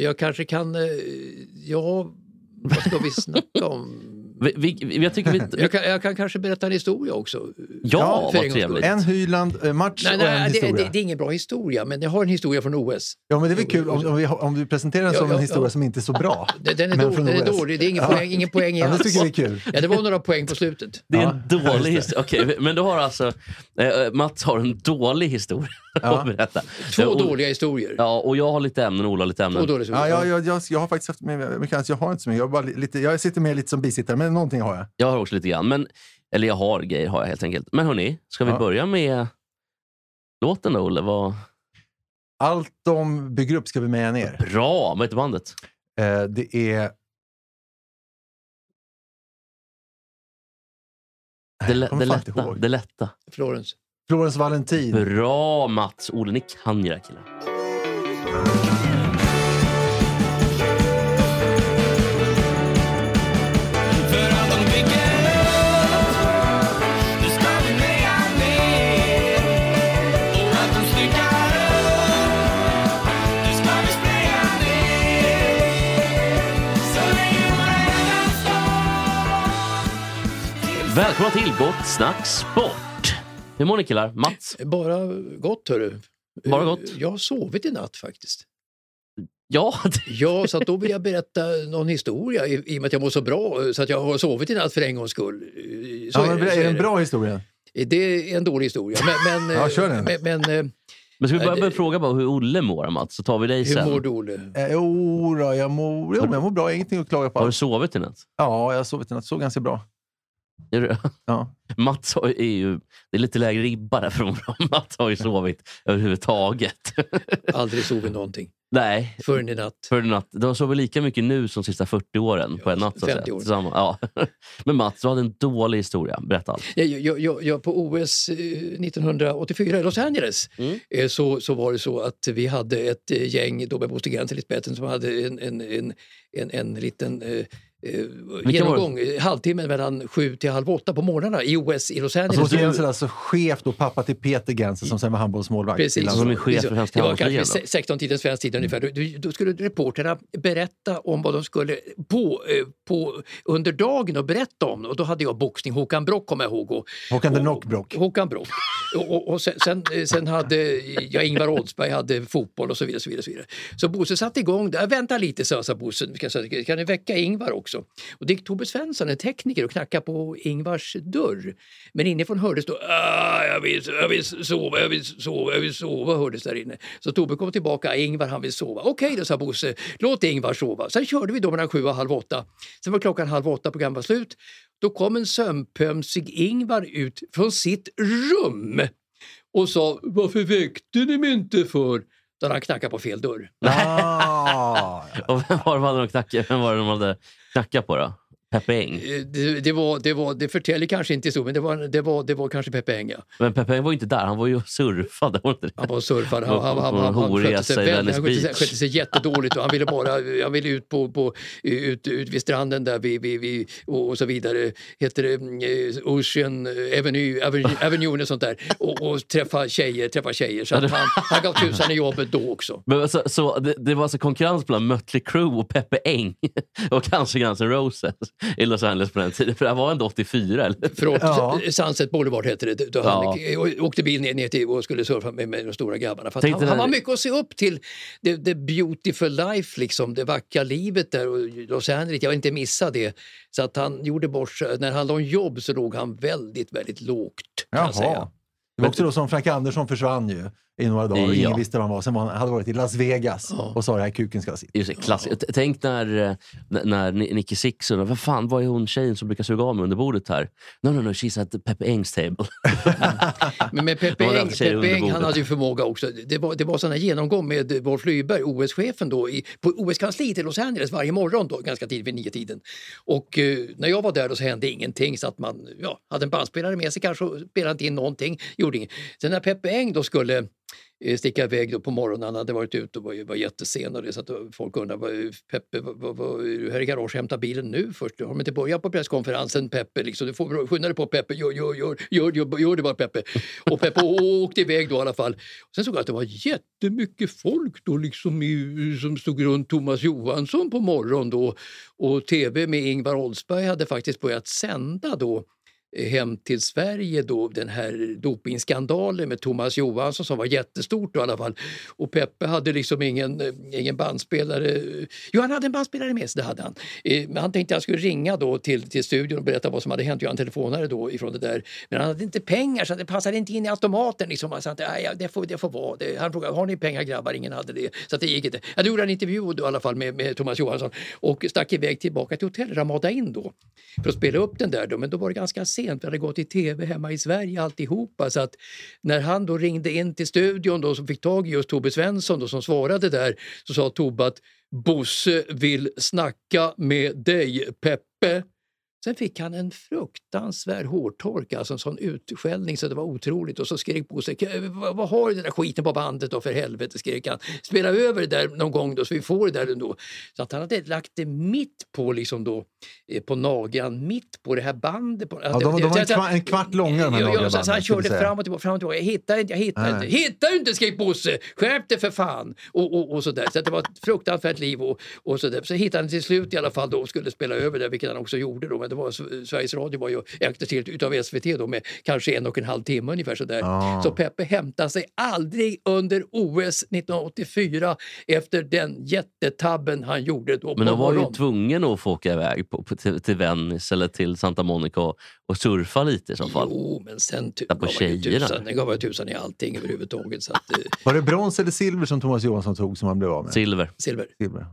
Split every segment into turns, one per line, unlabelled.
Jag kanske kan, eh, ja, vad ska vi snacka om?
Vi, vi, jag tycker vi...
Jag kan, jag kan kanske berätta en historia också.
Ja,
för
vad
en gångs skull.
trevligt.
En Hyland-match och
Nej,
en
nej, det,
historia.
det, det är ingen bra historia, men jag har en historia från OS.
Ja, men det är väl kul om, om, vi, har- om du presenterar den
Ja,
som
ja,
en historia
ja.
som inte är så bra.
Den, den, är,
Men
dålig,
från
den är
OS.
dålig, det är ingen
Ja.
poäng, ingen poäng
Ja,
alls.
det tycker vi är kul.
Ja, det var några poäng på slutet.
Det är en dålig historia. Okej, men du har alltså... Eh, Mats har en dålig historia
Ja.
att berätta.
Två
Eh, och,
dåliga historier.
Ja, och jag har lite ämnen och Ola har lite
Två
ämnen.
dåliga
Ja,
historier.
jag, jag, jag, jag har faktiskt haft med mycket annat. Jag har inte så mycket. Jag, har bara li- lite, jag sitter med lite som bisittare, men någonting har jag.
Jag har också lite grann. Men, eller jag har grejer har jag helt enkelt. Men hörni, ska vi
Ja.
börja med låten då, Olle? Vad
Allt de bygger upp ska vi meja ner.
bra! Vad heter bandet?
Eh, det är...
Det, lä-
Jag kommer
det,
fan inte
lätta,
ihåg.
det lätta.
Florens.
Florens Valentin.
Bra Mats! Olle, ni kan ju det här killar.
För allt de bygger Det ska vi meja ner Och allt de styckar Det ska vi spraya ner Så länge våra hjärtan står
Välkomna till Gott Snack Sport! Hur mår ni killar? Mats?
Bara gott, hörru.
Bara gott?
Jag har sovit i natt faktiskt.
Ja,
Ja, så att då vill jag berätta någon historia i, i och med att jag mår så bra så att jag har sovit i natt för en gångs skull. Så
Ja, men,
så
är det en bra historia?
Det är en dålig historia. Men, men,
Ja, kör den.
men, men eh,
Men ska vi börja
Nej,
med att
det-
fråga bara hur Olle mår Mats, så tar vi dig
hur
sen.
mår du, Olle?
Eh, jo, då, jag, mår, jo men jag mår bra. Ingenting att klaga på.
Har du
alls.
sovit i natt?
Ja, jag har sovit i natt. Sov ganska bra.
Är du-
Alltså,
Ja.
Mats har är ju, det är lite lägre ribba där från vad Mats har ju sovit överhuvudtaget.
Aldrig sovit någonting
Nej,
förrän i natt.
för en natt. Du har sovit lika mycket nu som de sista 40 åren på en natt. Så att
50
säga.
år.
Tillsammans. Ja. Men Mats, du hade en dålig historia. Berätta allt.
Jag, jag, jag, jag på OS eh, 1984 i Los Angeles
Mm.
eh, så, så var det så att vi hade ett eh, gäng, då med Bosse Grenz i Lisbetten, som hade en, en, en, en, en liten eh, eh, genomgång, eh, halvtimmen mellan sju till halv åtta på morgnarna i OS i Los Angeles.
Alltså, Bosse Grenzer är alltså chef och pappa till Peter Grenzer som sen var handbollsmålvakt. i
Precis.
landslaget.
Alltså, Som är chef för Svenska
det var kanske
handbollsligan då. Mm.
se- 16 tiden svensk tid ungefär. Då, då- då skulle reporterna berätta om vad de skulle på, eh, på, under dagen och berätta om. Och då hade jag boxning, Håkan Brock kommer jag ihåg. Och,
Håkan the
och-
Knockbrock.
Håkan Brock. Och, och, och sen, sen, eh, sen hade jag Ingvar Oldsberg hade fotboll och så vidare. Så vidare, så vidare. så Bosse satte igång. Där. Vänta lite, sa sa Bosse. Ska, ska, kan du väcka Ingvar också? Och det gick Tobbe Svensson, en tekniker, och knackade på Ingvars dörr. Men inifrån hördes då "Ah, jag vill, jag vill sova, jag vill sova, jag vill sova, hördes där inne. Så Tobbe kom tillbaka, Ingvar han vill sova. Okej då, sa Bosse, låt Ingvar sova. Sen körde vi då mellan sju och halv åtta. Sen var klockan halv åtta, programmet var slut. Då kom en sömnpömsig Ingvar ut från sitt rum och sa “Varför väckte ni mig inte för?” Då hade han knackat på fel dörr.
Ah,
Och vem var det de knackade, vem var det de hade knackat på då? Peppe Eng?
Eh, Det, det, var, det, var, det förtäljer kanske inte historien, men det var, det var, det var kanske Peppe Enga.
Men Peppe Eng var ju inte där. Han var ju och surfade. var det inte det?
Han var surfare, han,
Och-
han, han,
och
han, han skötte
horesa i
sig väldigt,
Venice
han skötte sig,
Beach.
skötte sig jättedåligt och han ville bara, han ville ut på, på ut, ut vid stranden där vi, vi, vi, och, och så vidare, heter det eh, Ocean Avenue, Avenue, Avenue och sånt där och, och träffa tjejer, träffa tjejer. Så att han, han gav tusan i jobbet då också.
Men så, så det, det var alltså konkurrens mellan Mötley Crüe och Peppe Eng och kanske Guns N' Roses i Los Angeles på den tiden. För det här var ändå 84, eller?
Förlåt,
Ja.
Sunset Boulevard hette det. Då han eh, åkte bil ner, ner till och skulle surfa med, med de stora grabbarna. För att
Tänkte
han, han
när-
var mycket att se upp till. The, the beautiful life, liksom, det vackra livet där och Los Angeles. Jag vill inte missa det. Så att han gjorde bort sig. När han låg om jobb så låg han väldigt, väldigt lågt. Kan jag säga.
Jaha. Det var också då som Frank Andersson försvann ju. i några dagar och
Ja.
ingen visste var han var. Sen var han, hade han varit i Las Vegas
Ja.
och sa det här kuken ska sitta.
Just det, klass- T- Tänk när, eh, n- när Ni- Nicky Six undrar, vad fan var är hon tjejen som brukar suga av mig under bordet här? No, no, no, she's at Peppe Engs table.
Men, men Peppe
Det var den
Eng,
tjejen
Peppe
under
Eng han
bordet.
hade ju förmåga också. Det var, det var sådana genomgång med Wolf Lyberg, OS-chefen då, i, på OS-kansliet i Los Angeles varje morgon då, ganska tidigt vid niotiden. Och eh, när jag var där då så hände ingenting så att man ja, hade en bandspelare med sig kanske och spelade inte in någonting, gjorde inget. Sen när Peppe Eng då skulle eh, sticka iväg då på morgonen. Han hade varit ute och var, ju- var jättesen och det, så att eh, folk undrade vad, Peppe, vad, vad, vad, är du här i garaget och hämtar bilen nu först? Har de inte börjat på presskonferensen Peppe? Liksom, du får skynda dig på Peppe, gör, gör, gör, gör, gör, gör det bara Peppe. Och Peppe åkte iväg då i alla fall. Sen såg jag att det var jättemycket folk då liksom i, som stod runt Thomas Johansson på morgonen då. Och tv med Ingvar Oldsberg hade faktiskt börjat sända då hem till Sverige då, den här dopingskandalen med Thomas Johansson som var jättestort då i alla fall. Och Peppe hade liksom ingen, eh, ingen bandspelare. Jo, han hade en bandspelare med sig, det hade han. Eh, Men han tänkte att han skulle ringa då till, till studion och berätta vad som hade hänt. Jag hade en telefonare då ifrån det där. Men han hade inte pengar så det passade inte in i automaten. Liksom. Han sa att "Nej, ja, det får, det får vara. Det- Han frågade har ni pengar grabbar? Ingen hade det. Så att det gick inte. Ja, då gjorde han en intervju då, i alla fall med, med Thomas Johansson och stack iväg tillbaka till hotellet, Ramada in då för att spela upp den där. Då. Men då var det ganska sent, vi hade gått i tv hemma i Sverige alltihopa. Så att när han då ringde in till studion då, som fick tag i just Tobbe Svensson då, som svarade där så sa Tobbe att Bosse vill snacka med dig Peppe. Sen fick han en fruktansvärd hårtorka, alltså en sån utskällning så det var otroligt. Och så skrek Bosse, "K- vad, vad har du den där skiten på bandet då för helvete, skrek han. Spela över det där någon gång då så vi får det där ändå. Så att han hade lagt det mitt på liksom då, eh, på nageln, mitt på det här bandet. På,
Ja, de, de var en kvart, en kvart långa de här
Ja, ja, så, så han
nagelbanden, ska vi
körde
säga.
fram och tillbaka, fram och tillbaka. Jag hittar inte, jag hittar
Nej.
inte. Hittar du inte skrek Bosse! Skärp dig för fan! Och, och, och sådär. Så att det var ett fruktansvärt liv. Och, och sådär. Så hittade han till slut i alla fall då och skulle spela över det, vilket han också gjorde. Då. Men det var, S- Sveriges Radio var ju ägdes helt utav SVT då med kanske en och en halv timme ungefär sådär.
Ja.
Så Peppe hämtade sig aldrig under OS 1984 efter den jättetabben han gjorde då
Men
på
de var ju
morgonen.
tvungen att få åka iväg på, på, till, till Venice eller till Santa Monica och, och surfa lite i så fall.
Jo, men sen tu-
Titta på
gav han ju
tjejerna.
tusan, den gav jag tusan i allting överhuvudtaget. Så att, eh,
Var det brons eller silver som Thomas Johansson tog som han blev av med?
Silver.
silver.
Silver.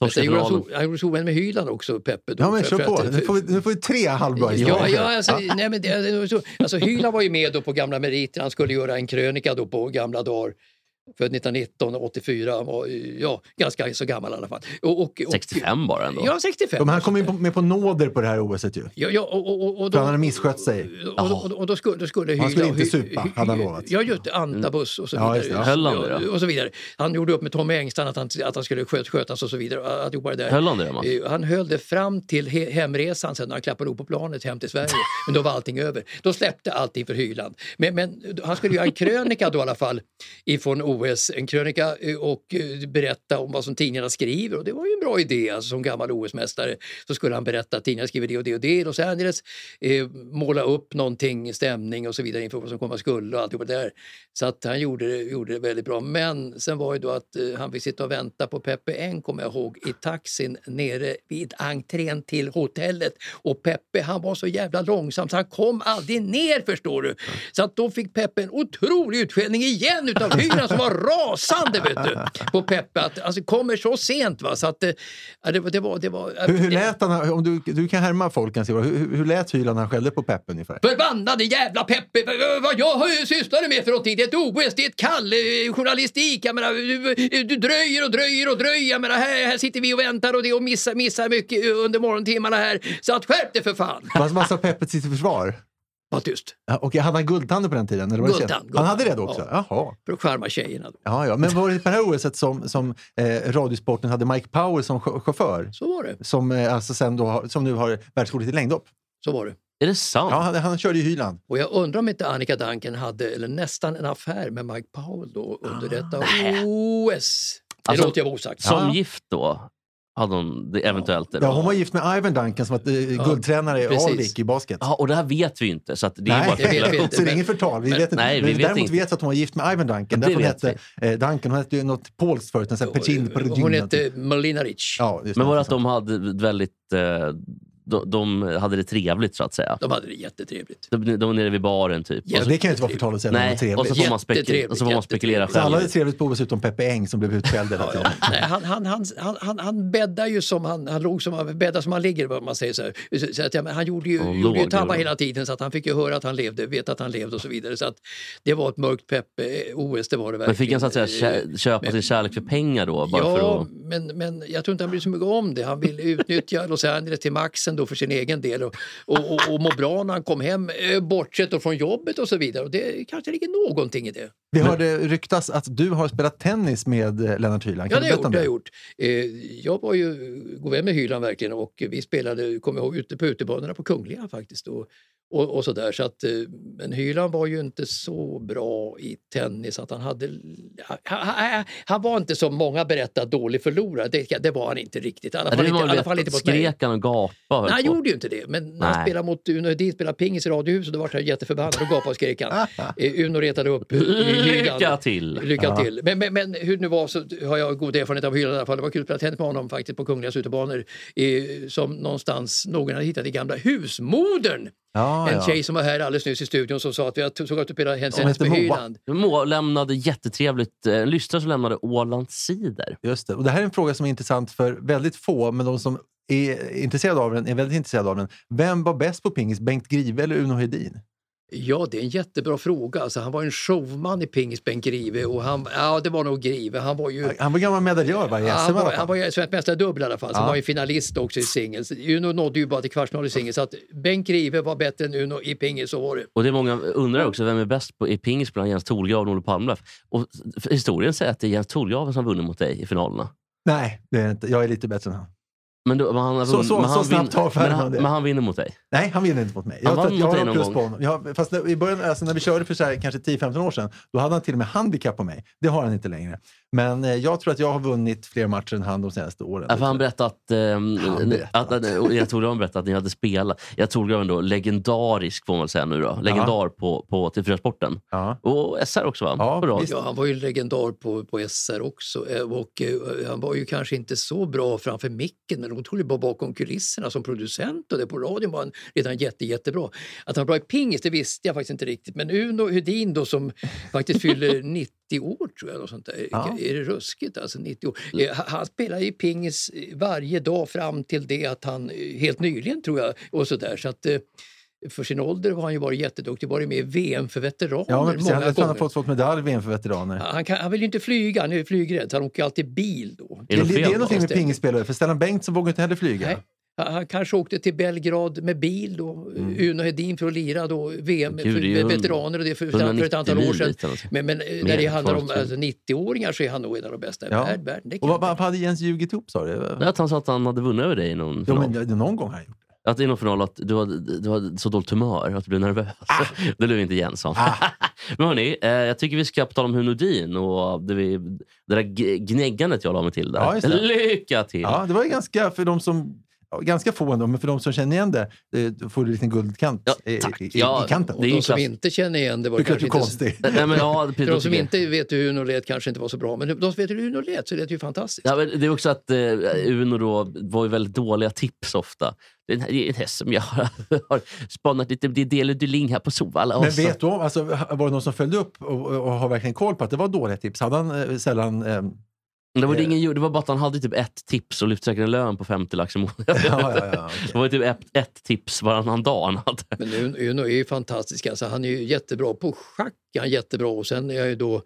Men sen gjorde Han
Torsdagsfinalen.
gjorde han gjorde sig ovän med Hyland också, Peppe. Då,
Ja, men
för-
kör
för
på.
att-
Nu får vi, nu får vi tre halvbra
Ja,
historier.
ja, alltså, nej, men det, alltså, alltså, Hyland var ju med då på gamla meriter. Han skulle göra en krönika då på gamla dagar. Född 1919, 84. Han var eh, ja, ganska så gammal i alla fall. Och, och, och,
65 bara ändå.
Ja, 65.
De här kom in på, med på nåder på det här OSet ju.
Ja, ja, och, och, och, och
För
då,
han hade misskött sig.
och, och, och, och då skulle, då skulle
Han skulle
Hyland-
inte
Hy-
supa,
Hy-
hade han lovat.
Ja, just det. Antabus och så
Ja,
vidare.
just det.
Höll han det då?
och så vidare. Han gjorde upp med Tommy Engstrand att han, att han skulle sköt, skötas och så vidare. Alltihopa det där.
Höll han det, Mats?
Eh, Han höll det fram till he- hemresan sen när han klappade upp på planet hem till Sverige. Men då var allting över. Då släppte allting för Hyland. Men, men han skulle göra en krönika då i alla fall ifrån OS. En krönika eh, och eh, berätta om vad som tidningarna skriver. Och det var ju en bra idé. Alltså, som gammal OS-mästare så skulle han berätta att tidningarna skriver det och det och det i Los Angeles. Eh, måla upp någonting, stämning och så vidare inför vad som komma skulle och allt det där. Så att han gjorde det, gjorde det väldigt bra. Men sen var ju då att eh, han fick sitta och vänta på Peppe Eng, kommer jag ihåg, i taxin nere vid entrén till hotellet. Och Peppe, han var så jävla långsam så han kom aldrig ner förstår du. Så att då fick Peppe en otrolig utskällning igen utav hyran som var rasande vet du. På Peppe, att alltså kommer så sent va. Så att eh, ja, det, var- det var... Det var
Hur, hur lät han? Om du, du kan härma folk. Kan se, vad- hur, hur lät Hyland när han skällde på Peppe ungefär?
Förbannade jävla Peppe! v- v- Vad jag har ju sysslat med för någonting? Det är ett OS, det är ett kall, eh, journalistik. Jag menar, du, du dröjer och dröjer och dröjer. Jag menar, här, här sitter vi och väntar och det och missar, missar mycket eh, under morgontimmarna här. Så att skärp dig för fan!
Vad vad sa Peppe till sitt försvar?
Var tyst,
Ja, Okej, hade han guldtanden på den tiden? Eller var det
Guldtand,
känt? Han
guldtand.
hade det då också? Jaha.
för att charma tjejerna. Då.
Ja, ja. Men var det på det här OSet som, som eh, Radiosporten hade Mike Power som cho- chaufför?
Så var det.
Som, eh, alltså sen då, har- som nu har världsrekordet i längdhopp.
Så var det.
Är det sant?
Ja, han, han körde ju Hyland.
Och jag undrar om inte Annika Danken hade, eller nästan en affär med Mike Powell då under detta
Ah,
OS. Det
Alltså,
låter jag vara osagt.
Som
Ja.
gift då? Hade hon det eventuellt? eller?
Ja, hon var gift med Ivan Duncan som var eh, guldtränare i
precis.
Alvik i basket.
Ja, och det här vet vi ju inte. Så att det är
Nej,
bara
det vet vi
spekulation.
inte.
så det är
men-
inget förtal. Vi
men-
vet inte.
nej, vi
men
vet
däremot
inte.
vet vi att hon var gift med Ivan Duncan.
Det
Därför hon
vet
hette eh, Duncan. Hon hette ju något polskt förut. en sån här Petin på typ.
Hon hette Malina Rich.
Ja, just
Men var det
det.
att de hade ett väldigt eh, de, de hade det trevligt så att säga.
De hade det jättetrevligt.
De, de var nere vid baren typ.
Ja,
Och
det kan ju inte vara förtal att säga att det var
Nej, och så
trevligt.
får man, spek-
Jättetrevligt,
och så får man spekulera
jättetrevligt.
Så alla
själv.
hade trevligt på OS utom Peppe Eng som blev utskälld hela tiden.
Nej, han, han, han, han, han, han bäddar ju som han, han låg som han, bäddar som han ligger vad man säger så, här. så, så att, ja, men Han gjorde ju,
Och
gjorde ju
låg,
tabbar
gjorde han.
hela tiden så att han fick ju höra att han levde, veta att han levde och så vidare. Så att det var ett mörkt pepp-OS, det var det verkligen.
Men fick han så att säga
Eh,
kä- köpa sin kärlek för pengar då? Bara för
Ja,
att...
men, men jag tror inte han bryr sig mycket om det. Han ville utnyttja Los Angeles till maxen då för sin egen del och, och, och, och må bra när han kom hem, eh, bortsett då från jobbet och så vidare. Och det kanske ligger någonting i det.
Vi hörde ryktas att du har spelat tennis med eh, Lennart Hyland.
Ja,
Kan
det
du
har jag
berätta
gjort.
om
Det har
det?
jag gjort. Eh, jag var ju god vän med Hyland verkligen och vi spelade, kommer jag ihåg, ute på utebanorna på Kungliga faktiskt. Och, och, och sådär. Så att, eh, men Hyland var ju inte så bra i tennis att han hade... Han, han, han var inte som många berättar dålig förlorare. Det, det var han inte riktigt. I alla
Ja,
fall
det
inte, i
var
alla fall
väl
inte
att
mot mig.
skrek han och gapade? och höll
Nej, han
på.
gjorde ju inte det. Men när han
Nej.
spelade mot Uno Hedin spelade pingis i Radiohuset då var han jätteförbannad och gapade och skrek. Han. Eh, Uno retade upp Hyland.
Lycka till!
Lycka till! Men, men, men hur det nu var så har jag god erfarenhet av Hyland i alla fall. Det var kul att spela tennis med honom faktiskt på Kungliga utebanor eh, som någonstans någon hade hittat i gamla husmodern.
Ja,
en
ja.
tjej som var här alldeles nyss i studion som sa att jag såg att du spelade tennis
heter
med
Moa.
Hyland.
Moa lämnade jättetrevligt, eh, en lyssnare som lämnade Ålands cider.
Just det. Och det här är en fråga som är intressant för väldigt få, men de som är intresserade av den är väldigt intresserade av den. Vem var bäst på pingis, Bengt Grive eller Uno Hedin?
Ja, det är en jättebra fråga. Alltså, han var en showman i pingis, Bengt Grive. Och han, ja, det var nog Grive. Han var ju...
Han var gammal medaljör va, i SM
Ja, han,
i
var,
alla
han
fall.
var ju svensk mästare i dubbel i alla fall, så
Ja.
han var ju finalist också i singel. Så Uno nådde ju bara till kvartsfinal i singel, så att Bengt Grive var bättre än Uno i pingis, så var det.
Och det är många undrar också, vem är bäst på, i pingis bland Jens Thorgraven och Olof Palme? Och f- historien säger att det är Jens Thorgraven som har vunnit mot dig i finalerna.
Nej, det är jag inte. jag är lite bättre än han.
Men, då, men han har
Så-
vunnit-
så-
men
så
han
snabbt
vinner-
tar Ferdinand
men han-
det.
Men han vinner mot dig.
Nej, han vinner inte mot mig. Jag,
Han
tror
vann
att jag
mot dig
har
någon
plus
gång.
på honom. Jag, fast när, i början, alltså när vi körde för så här, kanske 10-15 år sedan, då hade han till och med handikapp på mig. Det har han inte längre. Men eh, jag tror att jag har vunnit fler matcher än han de senaste åren.
Ja, för han berättade att, ehm,
Han berättade.
att, att, och Erik Thorgraven berättade att ni hade spelat. Erik Thorgraven då, legendarisk får man väl säga nu då. Legendar på, på TV4-sporten.
ja.
Och SR också va?
Ja,
på radio.
visst.
Ja, han var ju legendar på, på SR också eh, och eh, han var ju kanske inte så bra framför micken men otroligt bra bakom kulisserna som producent och det på radion var han redan jätte, jättebra. Att han var bra i pingis det visste jag faktiskt inte riktigt men Uno Hedin då som faktiskt fyller 90 år tror jag. Och sånt där.
Ja.
Är det ruskigt alltså 90 år? Eh, ha- Han spelade ju pingis eh, varje dag fram till det att han eh, helt nyligen tror jag och sådär. Så att, eh, för sin ålder har han ju varit jätteduktig, varit med i VM för veteraner
ja men precis. Han,
många
jag tror han har
gånger.
fått, fått medalj i VM för veteraner.
Han, kan, han vill ju inte flyga, han är ju flygrädd, så han åker alltid bil då.
Är
det,
det
det,
fel
är
då?
någonting med
Stäng.
pingisspelare, för Stellan Bengtsson vågar inte heller flyga.
Nej. Han, han kanske åkte till Belgrad med bil då, Uno Hedin för att lira då VM
Gud, Mm. det är ju
för veteraner och det för, för ett
190
antal år
mil
sedan.
dit eller något.
Men, men eh, när
Mer
det
än
handlar om
12 000.
alltså, 90-åringar så är han nog en av de bästa i
Ja.
värld- världen. Det
Och
kan
vad,
jag
vad hade Jens ljugit ihop sa du?
Nej, Att han sa att han hade vunnit över dig i någon
Jo,
final.
men, det- någon gång har han gjort det.
Att i någon final att du hade, du hade så dåligt humör att du blev nervös.
Ah.
Det blev inte Jensson. men hörni, eh, jag tycker vi ska på tal om Hunodin och det, vi, det där g- gnäggandet jag la mig till där.
Ja, just det.
Lycka till!
Ja, det var ju ganska, för de som, ja, ganska få ändå, men för de som känner igen det, eh, får du en liten guldkant
Ja,
i,
tack.
i, i,
Ja,
i kanten.
och
det är
de
ju
som
klass-
inte känner igen det var
Du lät
kanske
ju
inte...
konstig.
Eh, Nej, men, ja, precis,
För
då
de som
tycker jag.
inte vet hur Uno lät kanske inte var så bra, men de som vet hur Uno lät så lät det ju fantastiskt.
Ja, men det är också att eh, Uno då var ju väldigt dåliga tips ofta. Det är en- det är en häst som jag har, har spanat lite. Det är Dele Dyling här på Sovalla.
Men
också.
vet du om, alltså, var det någon som följde upp och, och, och har verkligen koll på att det var dåliga tips? Hade han eh, sällan... Eh,
det, var det, ingen, det var bara att han hade typ ett tips och lyfte säkert en lön på 50 lax i månaden.
ja, ja, ja, okej.
Det var ju typ ett, ett tips varannan dag han hade.
Men Uno- Uno är ju fantastisk. Alltså, han är ju jättebra på schack. är Han är jättebra. Och sen är jag ju då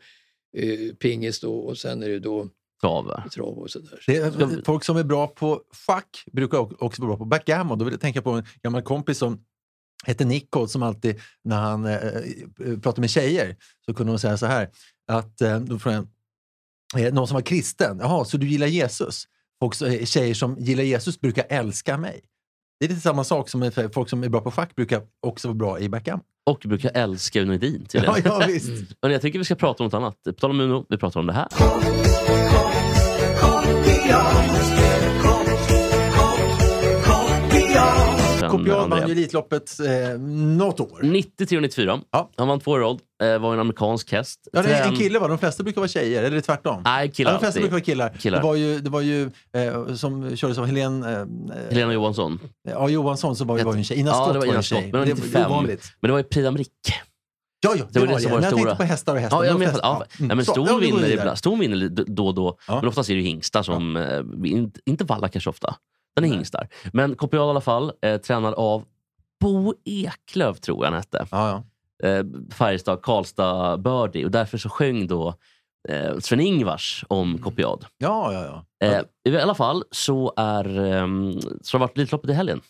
eh, pingis då, och sen är det då
Trav.
trav och sådär.
det är, folk som är bra på schack brukar o- också vara bra på backgammon. Då vill jag tänka på en gammal kompis som hette Nicol som alltid när han eh, eh, pratade med tjejer så kunde hon säga så här att eh, då frågade jag, eh, någon som var kristen, jaha, så du gillar Jesus? Folk, så- eh, tjejer som gillar Jesus brukar älska mig. Det är lite samma sak som eh, folk som är bra på schack brukar också vara bra i backgammon.
Och brukar älska Uno Edin
Ja,
tydligen.
ja, visst.
Men jag tycker vi ska prata om något annat. På tal om Uno, vi pratar om det här.
Kom till oss, kom, kom, kom till oss
sen
Kopial
Andrea. Mm.
vann ju Elitloppet eh, något år.
93 och 94.
Ja.
Han vann två i rad. Eh, var en amerikansk häst.
Ja, det är en
Trän-
kille va? De flesta brukar vara tjejer, eller tvärtom?
Nej,
Ja,
killar
de flesta
alltid.
brukar vara killar.
Killar.
Det var ju, det var ju eh, som kördes av Helene eh,
Helena Johansson.
ja, Johansson, som var, ju- var ju en tjej. Ina
Ja,
Scott
det var
ju
Ina
en
Scott,
tjej.
men hon
det
är 95.
var ovanligt.
Men det var ju Prix d'Amérique.
Ja, ja, det, var
det
det.
som var
Men
det
jag tänkte
stora.
på hästar och hästar.
Ja,
men
jag
de
menar,
flesta-
ja,
Mm.
nej, men
Så, ja,
ston
vi går
vinner
vidare.
ibland. Ston vinner då och då.
Ja.
Men oftast är det ju hingstar som... Eh, inte, inte Wallacher så ofta. Den är hingstar. Men Kopial i alla fall. Eh, tränad av Bo Eklöf, tror jag han hette.
Ja, ja.
eh, Färjestad, Karlstad, Birdie. Och därför så sjöng då eh, Sven-Ingvars om Kopiad.
ja, ja, Mm. ja.
Eh, I alla fall så, är, ehm, så har det varit Elitloppet i helgen.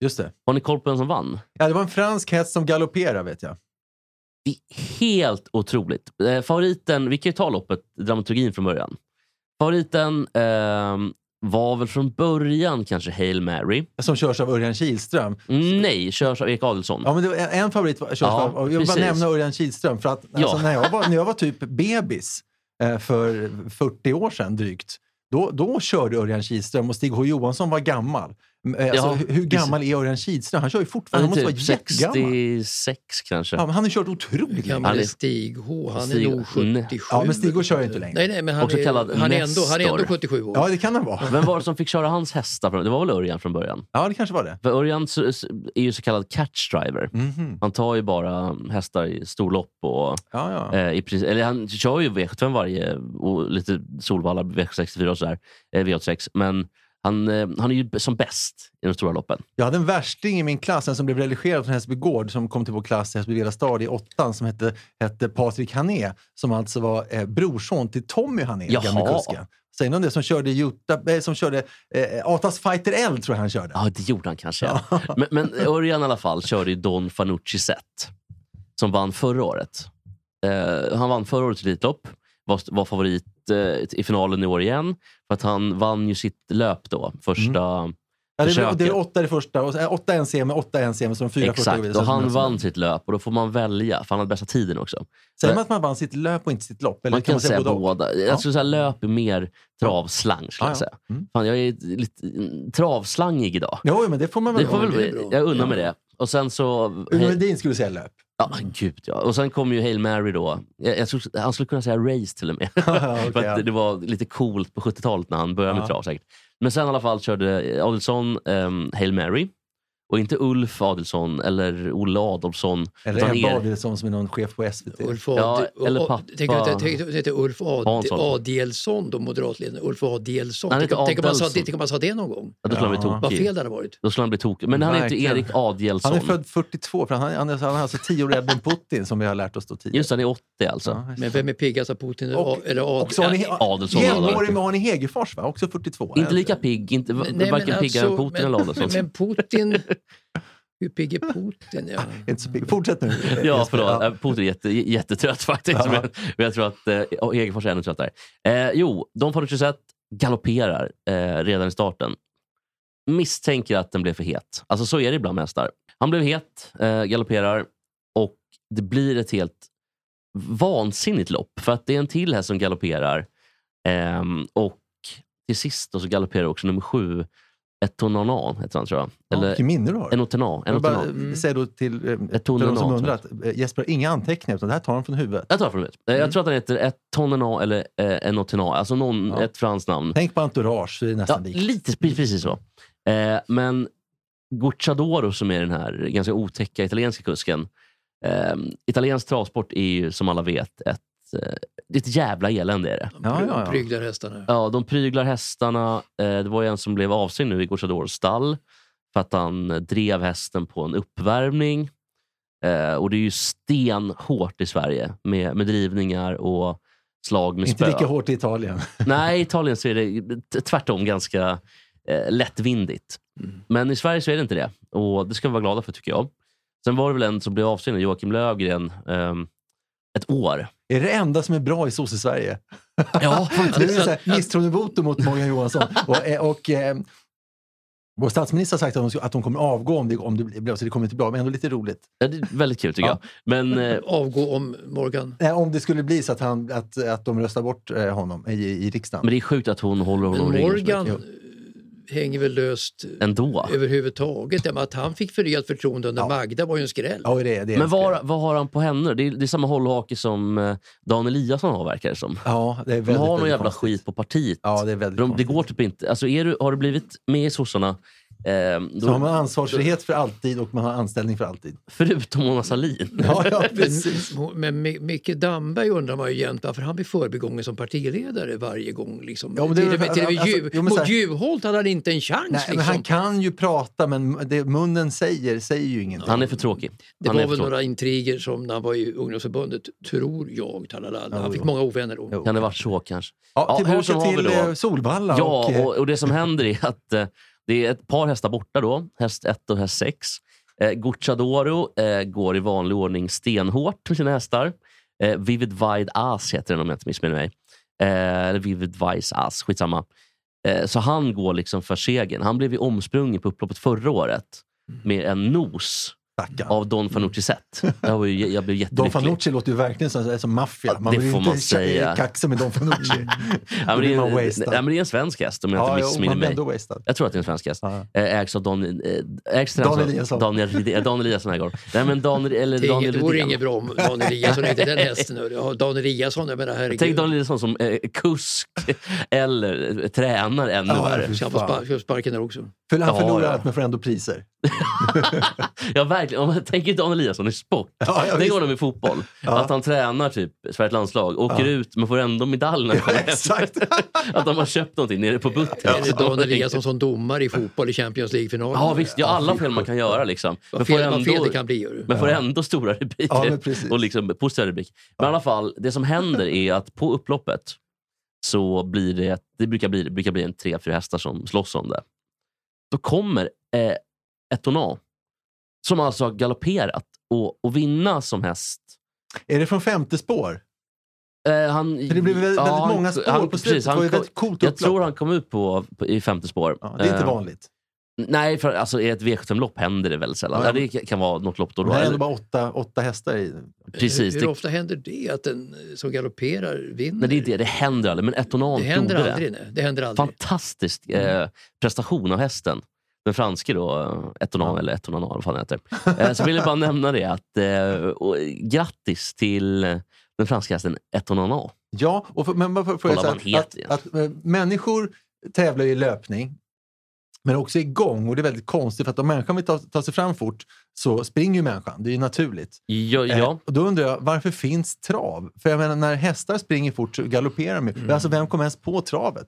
Just det.
Har ni koll på vem som vann?
Ja, det var en fransk häst som galopperade, vet jag.
Det är helt otroligt. Eh, favoriten, vi kan ju ta loppet, dramaturgin från början. Favoriten ehm, var väl från början kanske Hail Mary.
Som körs av Örjan Kihlström.
Nej, körs av Erik Adelsson.
Ja, men det var en, en favorit var- körs
Ja,
av... Jag vill bara
precis.
nämna Örjan Kihlström. För att, alltså, när, jag var, när jag var typ bebis eh, för 40 år sedan drygt, då, då körde Örjan Kihlström och Stig H Johansson var gammal. Mm, eh, Alltså,
Ja,
hur, hur
precis.
gammal är Örjan Kihlström? Han kör ju fortfarande.
Han
Han
är
måste
typ
vara jättegammal.
66 kanske.
Ja, men han har kört otroligt länge.
Han
Gamle
är-
Stig H, han
Stig-
är nog 77.
Ja, men Stig H kör ju inte längre.
Nej, nej, men han
Också
är,
kallad
han, är ändå, han är ändå
Nestor.
77 år.
Ja, det kan han vara.
Vem var det som fick köra hans hästar? från- Det var väl Örjan från början?
Ja, det kanske var det.
För Örjan s- s- är ju så kallad catch driver.
Mhm.
Han tar ju bara hästar i storlopp. Och,
Ja, ja.
eh, i princip, eller han kör ju V75 varje och lite Solvalla V64 och sådär. Eh, V86. Men han, eh, han är ju som bäst i de stora loppen.
Jag hade en värsting i min klass, en som blev relegerad från Hässelby gård, som kom till vår klass i Hässelby Villa stad i åttan, som hette, hette Patrik Hané, som alltså var eh, brorson till Tommy Hané,
Jaha.
gamle kusken. Säger ni om det? Som körde, Juta, eh, som körde eh, Atas Fighter L, tror jag han körde.
Ja, det gjorde han kanske. ja. Men, men Örjan i alla fall körde ju Don Fanucci Zet, som vann förra året. Eh, han vann förra årets Elitlopp, var, var favorit eh, i finalen i år igen. För att han vann ju sitt löp då, första...
Ja, det, är,
försöker.
det är åtta i det första, och, eh, åtta NCM, åtta NCM, så de fyra första går
Exakt,
vidare.
och
Så
han
som-
vann sitt löp och då får man välja, för han hade bästa tiden också.
Säger man att man vann sitt löp och inte sitt lopp? Eller
man kan, säga båda. Jag skulle säga löp är mer travslang. Skulle jag
Ja, ja.
säga. Mm. Fan, jag är lite mm, travslangig idag.
Jo, men det får man väl
Det får
vara.
väl,
bra.
jag undrar mig det. Och sen så...
Uno Hedin skulle säga löp.
Ja, men gud ja. Och sen kom ju Hail Mary då. Jag, jag tror, han skulle kunna säga race till och med.
Ja, okej,
För
ja.
att det var lite coolt på 70-talet när han började med
Ja.
trav säkert. Men sen i alla fall körde eh, Adelsson ehm, Hail Mary. Och inte Ulf Adelsson eller Olle Adolfsson.
Eller
utan
Ebba
er-
Adielsson som är någon chef på SVT.
Ulf
Ja,
Ad...
eller
och- och-
pappa-
Tänk att det- tänk att det heter Ulf Ad...
Hansson.
Adelsson, då, moderatledaren. Ulf Adelsson.
Han
Tänk,
heter
om- tänk, om man sa,
Adelsson.
tänk om man sa det någon gång.
Ja, Då skulle han bli
Ja.
Vad
tokig.
fel det hade varit.
Då skulle han bli tokig. Men han heter
Verkligen.
Erik Adielsson.
Han är född 42, för han, han, är, han är alltså 10 år äldre än Putin som vi har lärt oss då tidigare.
Just det, han är 80 alltså.
Ja, just det.
Men vem är piggast av Putin eller
Och-
A- eller Ad...
Och så har ni
Adelsson
jämnårig
Adelsson.
med Arne Hegerfors, va? också 42.
Inte lika pigg, inte,
Men- nej, men
varken piggare än
alltså,
Putin eller
men-
Adelsson.
Men Putin... Hur pigg är Putin? Ja.
Inte så pigg. Fortsätt nu.
Ja,
Jesper.
förlåt.
Ja.
Eh, Putin är jätte, jättetrött faktiskt.
Ja.
Men, men jag tror att eh, Egerfors är ännu tröttare. Eh, jo, Don Fanucci Zet galopperar eh, redan i starten. Misstänker att den blev för het. Alltså så är det ibland med hästar. Han blev het, eh, galopperar och det blir ett helt vansinnigt lopp. För att det är en till häst som galopperar. Ehm, och till sist då så galopperar också nummer sju, Etonanan heter han tror jag.
Ja,
Eller
Vilket minne du har.
Enotena.
Jag vill bara
Enotena.
eh, säga då till eh,
Ett
till de
tonenat,
som
tror
undrar att eh, Jesper har inga anteckningar, utan det här tar han från huvudet.
Jag tar från huvudet. Eh,
Mm.
Jag tror att den heter ett Tonnena eller eh, Enotena. Alltså någon,
Ja.
ett franskt namn.
Tänk på entourage, så är det
Ja,
nästan likt.
lite pre- precis så. Eh, men Gucciadoro som är den här ganska otäcka italienska kusken. Eh, italiensk travsport är ju som alla vet ett, eh, det är ett jävla elände. Är det.
Ja, ja, ja.
De pryglar hästarna.
Ja, de pryglar hästarna. Eh, det var ju en som blev avstängd nu i Gucciadoros stall för att han eh, drev hästen på en uppvärmning. Eh, och det är ju stenhårt i Sverige med, med drivningar och slag med
Inte
spö.
lika hårt i Italien.
Nej, i Italien så är det t- tvärtom ganska eh, lättvindigt.
Mm.
Men i Sverige så är det inte det. Och Det ska vi vara glada för tycker jag. Sen var det väl en som blev avstängd, Joakim Lövgren, ehm, ett år.
Är det det enda som är bra i sosse-Sverige?
Ja,
Det är så här misstroendevotum mot Morgan Johansson. Och, eh, och, eh, vår statsminister har sagt att de, ska- att de kommer avgå om det, om det blir så det kommer inte bli av, men ändå lite roligt.
det är väldigt kul tycker
Ja.
jag. Men eh,
Avgå om Morgan.
Nej, Eh, om det skulle bli så att, han, att, att de röstar bort eh, honom i, i riksdagen.
Men det är sjukt att hon håller
Men
honom i ryggen.
Morgan eh,
Jo.
hänger väl löst
ändå.
överhuvudtaget. Ja, men Att han fick förnyat förtroende under
Ja.
Magda var ju en skräll.
Ja, det är det. är
Men
en
vad,
skräll.
vad har han på henne? Det är, det är samma hållhake som eh, Dan Eliasson har, verkar det som.
Ja, det är
De
väldigt,
har någon
väldigt
jävla
konstigt.
skit på partiet.
Ja, det är väldigt
de, det
konstigt.
går typ inte. Alltså, är du, har du blivit med i sossarna, eh,
Så har man
då,
ansvarsfrihet för alltid och man har anställning för alltid.
förutom Mona Sahlin,
Ja, ja
Men, men Mi- Micke Damberg undrar man ju jämt varför han blir förbigången som partiledare varje gång. Liksom.
Ja, men det är
till
väl
och med, till och med
för- alltså,
Ju-
jo, men så
Mot
här-
Juholt hade han inte en chans.
Nej, men
liksom.
han kan ju prata, men det munnen säger säger ju ingenting.
han är för tråkig.
Det
han är
var
för
väl
tråkig.
några intriger som när han var i ungdomsförbundet, tror jag. Talalala. Han
Jo,
fick
jo.
många ovänner då.
Jo.
Kan det vara så kanske?
Ja,
hur
tillbaka
som har vi
till
då-
eh, Solvalla.
Ja,
och, eh,
och, och det som händer är att eh, det är ett par hästar borta då. Häst 1 och häst 6. Eh, Gucciadoro eh, går i vanlig ordning stenhårt med sina hästar. Eh, Vivid Wide As heter den om jag inte missminner mig. Eh, eller Vivid Wise As, skitsamma. Eh, så han går liksom för segern. Han blev ju omsprungen på upploppet förra året med en nos
stackarn.
av Don Fanucci Zet. Jag, var ju, jag blev
Don
jättelycklig.
Fanucci låter ju verkligen som, som maffia.
Ja,
Man
det
vill ju
får man
inte
säga.
kaxa med Don Fanucci.
Ja, men det,
blir man
är,
wasted.
nej, men det är en svensk häst om jag
ja,
inte
jo,
missminner
man blir
mig.
ändå wasted.
Jag tror att det är en svensk häst.
Ja.
Eh, ägs av Dan, eh, ägs till
Dan
alltså-
Eliasson.
Daniel, Ride- eh, Dan Eliasson här går. Nej, men Dan, eller
Det, är
Daniel
inget, det vore
Rydén.
inget bra om Dan Eliasson inte den hästen. Ja, Dan Eliasson, jag menar herregud.
Tänk Daniel Eliasson som eh, kusk eller eh, tränare ännu
Ja,
värre.
fy
Ska han få
fan.
spark- ska han få sparken där också?
För han
Ja,
förlorar
ja.
allt men får ändå priser.
Ja, verkligen. Om man tänker Dan Eliasson i sport.
Ja, ja,
Tänk
visst.
honom i fotboll.
Ja.
Att han tränar typ Sveriges landslag, åker ut men får ändå medalj när han kommer hem.
Exakt.
Att de har köpt någonting nere på butten.
Eller Dan Eliasson som domare i fotboll i Champions League-finalen.
Ja visst, ja, alla fel man kan göra. Liksom. Men
Vad
får
fel, vad fel
ändå,
det kan bli. gör du.
men får ändå stora
Ja,
rubriker.
men precis.
och liksom positiva rubrik. Men i alla fall, det som händer är att på upploppet så blir det, det brukar bli, det brukar bli en tre, fyra hästar som slåss om det. Då kommer eh, ett tonal som alltså har galopperat och, och vinna som häst.
Är det från femte spår?
Eh, han,
För det blir väl- väldigt
ja, han-
många spår
han-
på
precis,
slutet. det var ju
kom-
väldigt coolt
jag
upplopp.
tror han kom ut på, på, i femte spår.
ja, det är inte
Eh,
vanligt.
nej, för alltså, i ett V75-lopp händer det väl sällan.
Ja,
Ja,
ja.
det kan vara något lopp då.
Det
då.
är
Eller,
ändå bara åtta, åtta hästar i.
precis,
Hur
det,
ofta händer det att den som galopperar vinner?
nej, det, är det, det händer aldrig, men ett tonal
Det händer
gjorde det.
aldrig. Nej. Det händer aldrig.
fantastisk
Mm.
eh, prestation av hästen. Den franske då, eh, Etonan, eller Etonan vad fan han heter. Eh, så vill jag bara nämna det att eh, och, eh, grattis till eh, den franska hästen Etonan.
Ja, och för, men varför får jag
Kolla vad
säga
han
att,
heter
att, att eh, människor tävlar ju i löpning, men också i gång. Och det är väldigt konstigt, för att om människan vill ta, ta sig fram fort så springer ju människan. Det är ju naturligt.
Ja,
Eh,
ja.
Och då undrar jag, varför finns trav? För jag menar, när hästar springer fort så galopperar de ju.
Mm.
Men Alltså, vem kom ens på travet?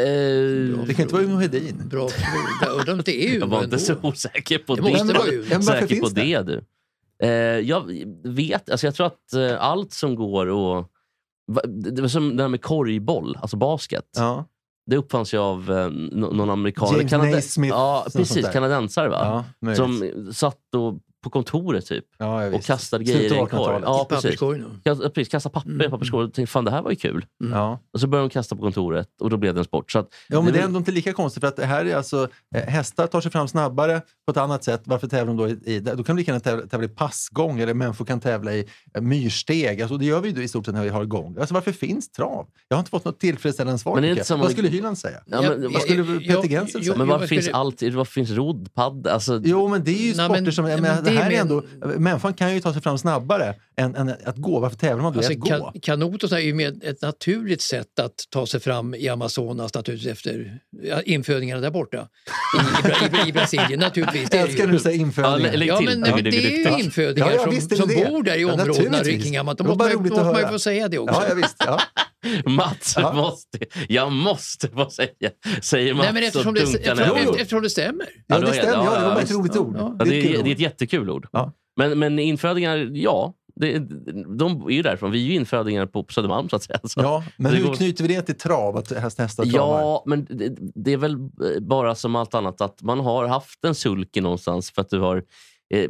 Eh,
Det kan inte vara Uno Hedin.
Bra fråga. Undrar om det är
jag
Umeå
var inte
ändå.
så osäker på
Det
det.
måste
Jag
vara
var
Umeå.
Men varför
Säker på
finns det?
det, du. Eh, jag vet, alltså jag tror att eh, allt som går och... va- Det det var som det här med korgboll, alltså basket.
Ja.
Det uppfanns ju av eh, n- någon amerikan.
James
Kanade-
Naismith,
Ja,
något sånt
precis.
där.
Kanadensare va?
Ja, möjligt.
Som satt och, på kontoret typ
ja, ja,
och
visst.
kastade
Slutet
grejer i en
av
korg.
1800-talet.
Ja, precis.
Papperskorgen. då.
Kastade, precis, kastade papper i
Mm.
papperskorgen och tänkte fan det här var ju kul.
Ja.
Och så började de kasta på kontoret och då blev det en sport. Så att,
Ja, men det är
väl-
ändå inte lika konstigt. För att det här är alltså, eh, hästar tar sig fram snabbare på ett annat sätt. Varför tävlar de då i, i Då kan vi lika gärna tävla, tävla i passgång eller människor kan tävla i eh, myrsteg. Alltså, det gör vi ju i stort sett när vi har gång. Alltså, varför finns trav? Jag har inte fått något tillfredsställande svar.
Men det är inte
tycker jag.
samma-
Vad skulle Hyland säga?
Ja, men,
Jag-
vad
skulle
jag-
Peter
jag-
Gensel
jag-
säga?
men
jag
varför finns
skulle-
allt? Varför finns rodd, padd? Alltså,
Jo, men det är
Nej,
ju sporter
men-
som...
ja,
Jag
men
menar, det
det
här
men-
är ändå, människan kan ju ta sig fram snabbare än, än att gå. Varför tävlar man då i
Alltså,
att gå?
kan, kanot och sådär är ju med ett naturligt sätt att ta sig fram i Amazonas naturligtvis efter ja, infödingarna där borta. I, i, Bra- i, i Brasilien naturligtvis. Det är det ju.
Älskar du säga
Ja,
infödingar?
lä- lägg
Ja,
till.
men
Ja,
nej, men det är ju
dygdygdigt.
infödingar
Ja, ja,
som,
visst är det
som
det.
bor där i
Ja,
områdena
naturligtvis.
kring Hammarby. Då
Det var
måste
bara
man, ju-
roligt att
måste man ju
höra.
få säga det också.
Ja, ja, visst. Ja.
Mats,
Ja.
måste, jag måste få säga, säger Mats
Nej, men
och
eftersom, det,
dunkar
eftersom,
ner.
Jo, jo.
efter- eftersom det stämmer.
Ja,
Ja, du
det
har-
stämmer. Ja,
ja,
det var
ja,
bara ett
visst.
roligt
Ja,
ord.
ja.
Ja, det,
ett kul
är,
ord.
det är ett jättekul ord.
Ja.
Men, men infödingar, ja. Det, de är ju därifrån. Vi är ju infödingar på Södermalm så att säga. Så
Ja, men
det
hur
går-
knyter vi det till trav? Att häst, hästar travar?
Ja, men det, det är väl eh, bara som allt annat att man har haft en sulke någonstans för att du har eh,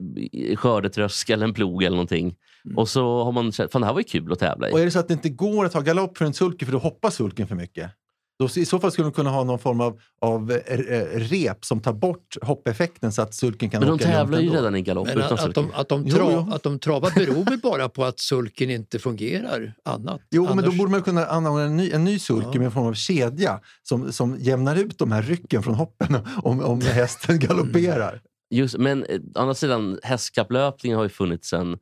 skördetröska eller en plog eller någonting.
Mm.
Och så har man känt fan det här var ju kul att tävla i.
Och är det så att det inte går att ha galopp för en sulke för då hoppar sulken för mycket? Då, I så fall skulle de kunna ha någon form av, av eh, eh, rep som tar bort hoppeffekten så att sulken kan
Men de
åka lugnt
tävlar ju
ändå.
redan i galopp
Men
utan
att, att,
sulken.
de, att, de
Jo,
tra,
jo.
att de travar beror väl bara på att sulken inte fungerar annat.
Jo, men
Annars-
då borde man kunna anordna en ny, en ny sulke
Ja.
med en form av kedja som, som jämnar ut de här rycken från hoppen om, om hästen
Mm.
galopperar.
Just, men eh, å andra sidan, hästkapplöpningen har ju funnits sedan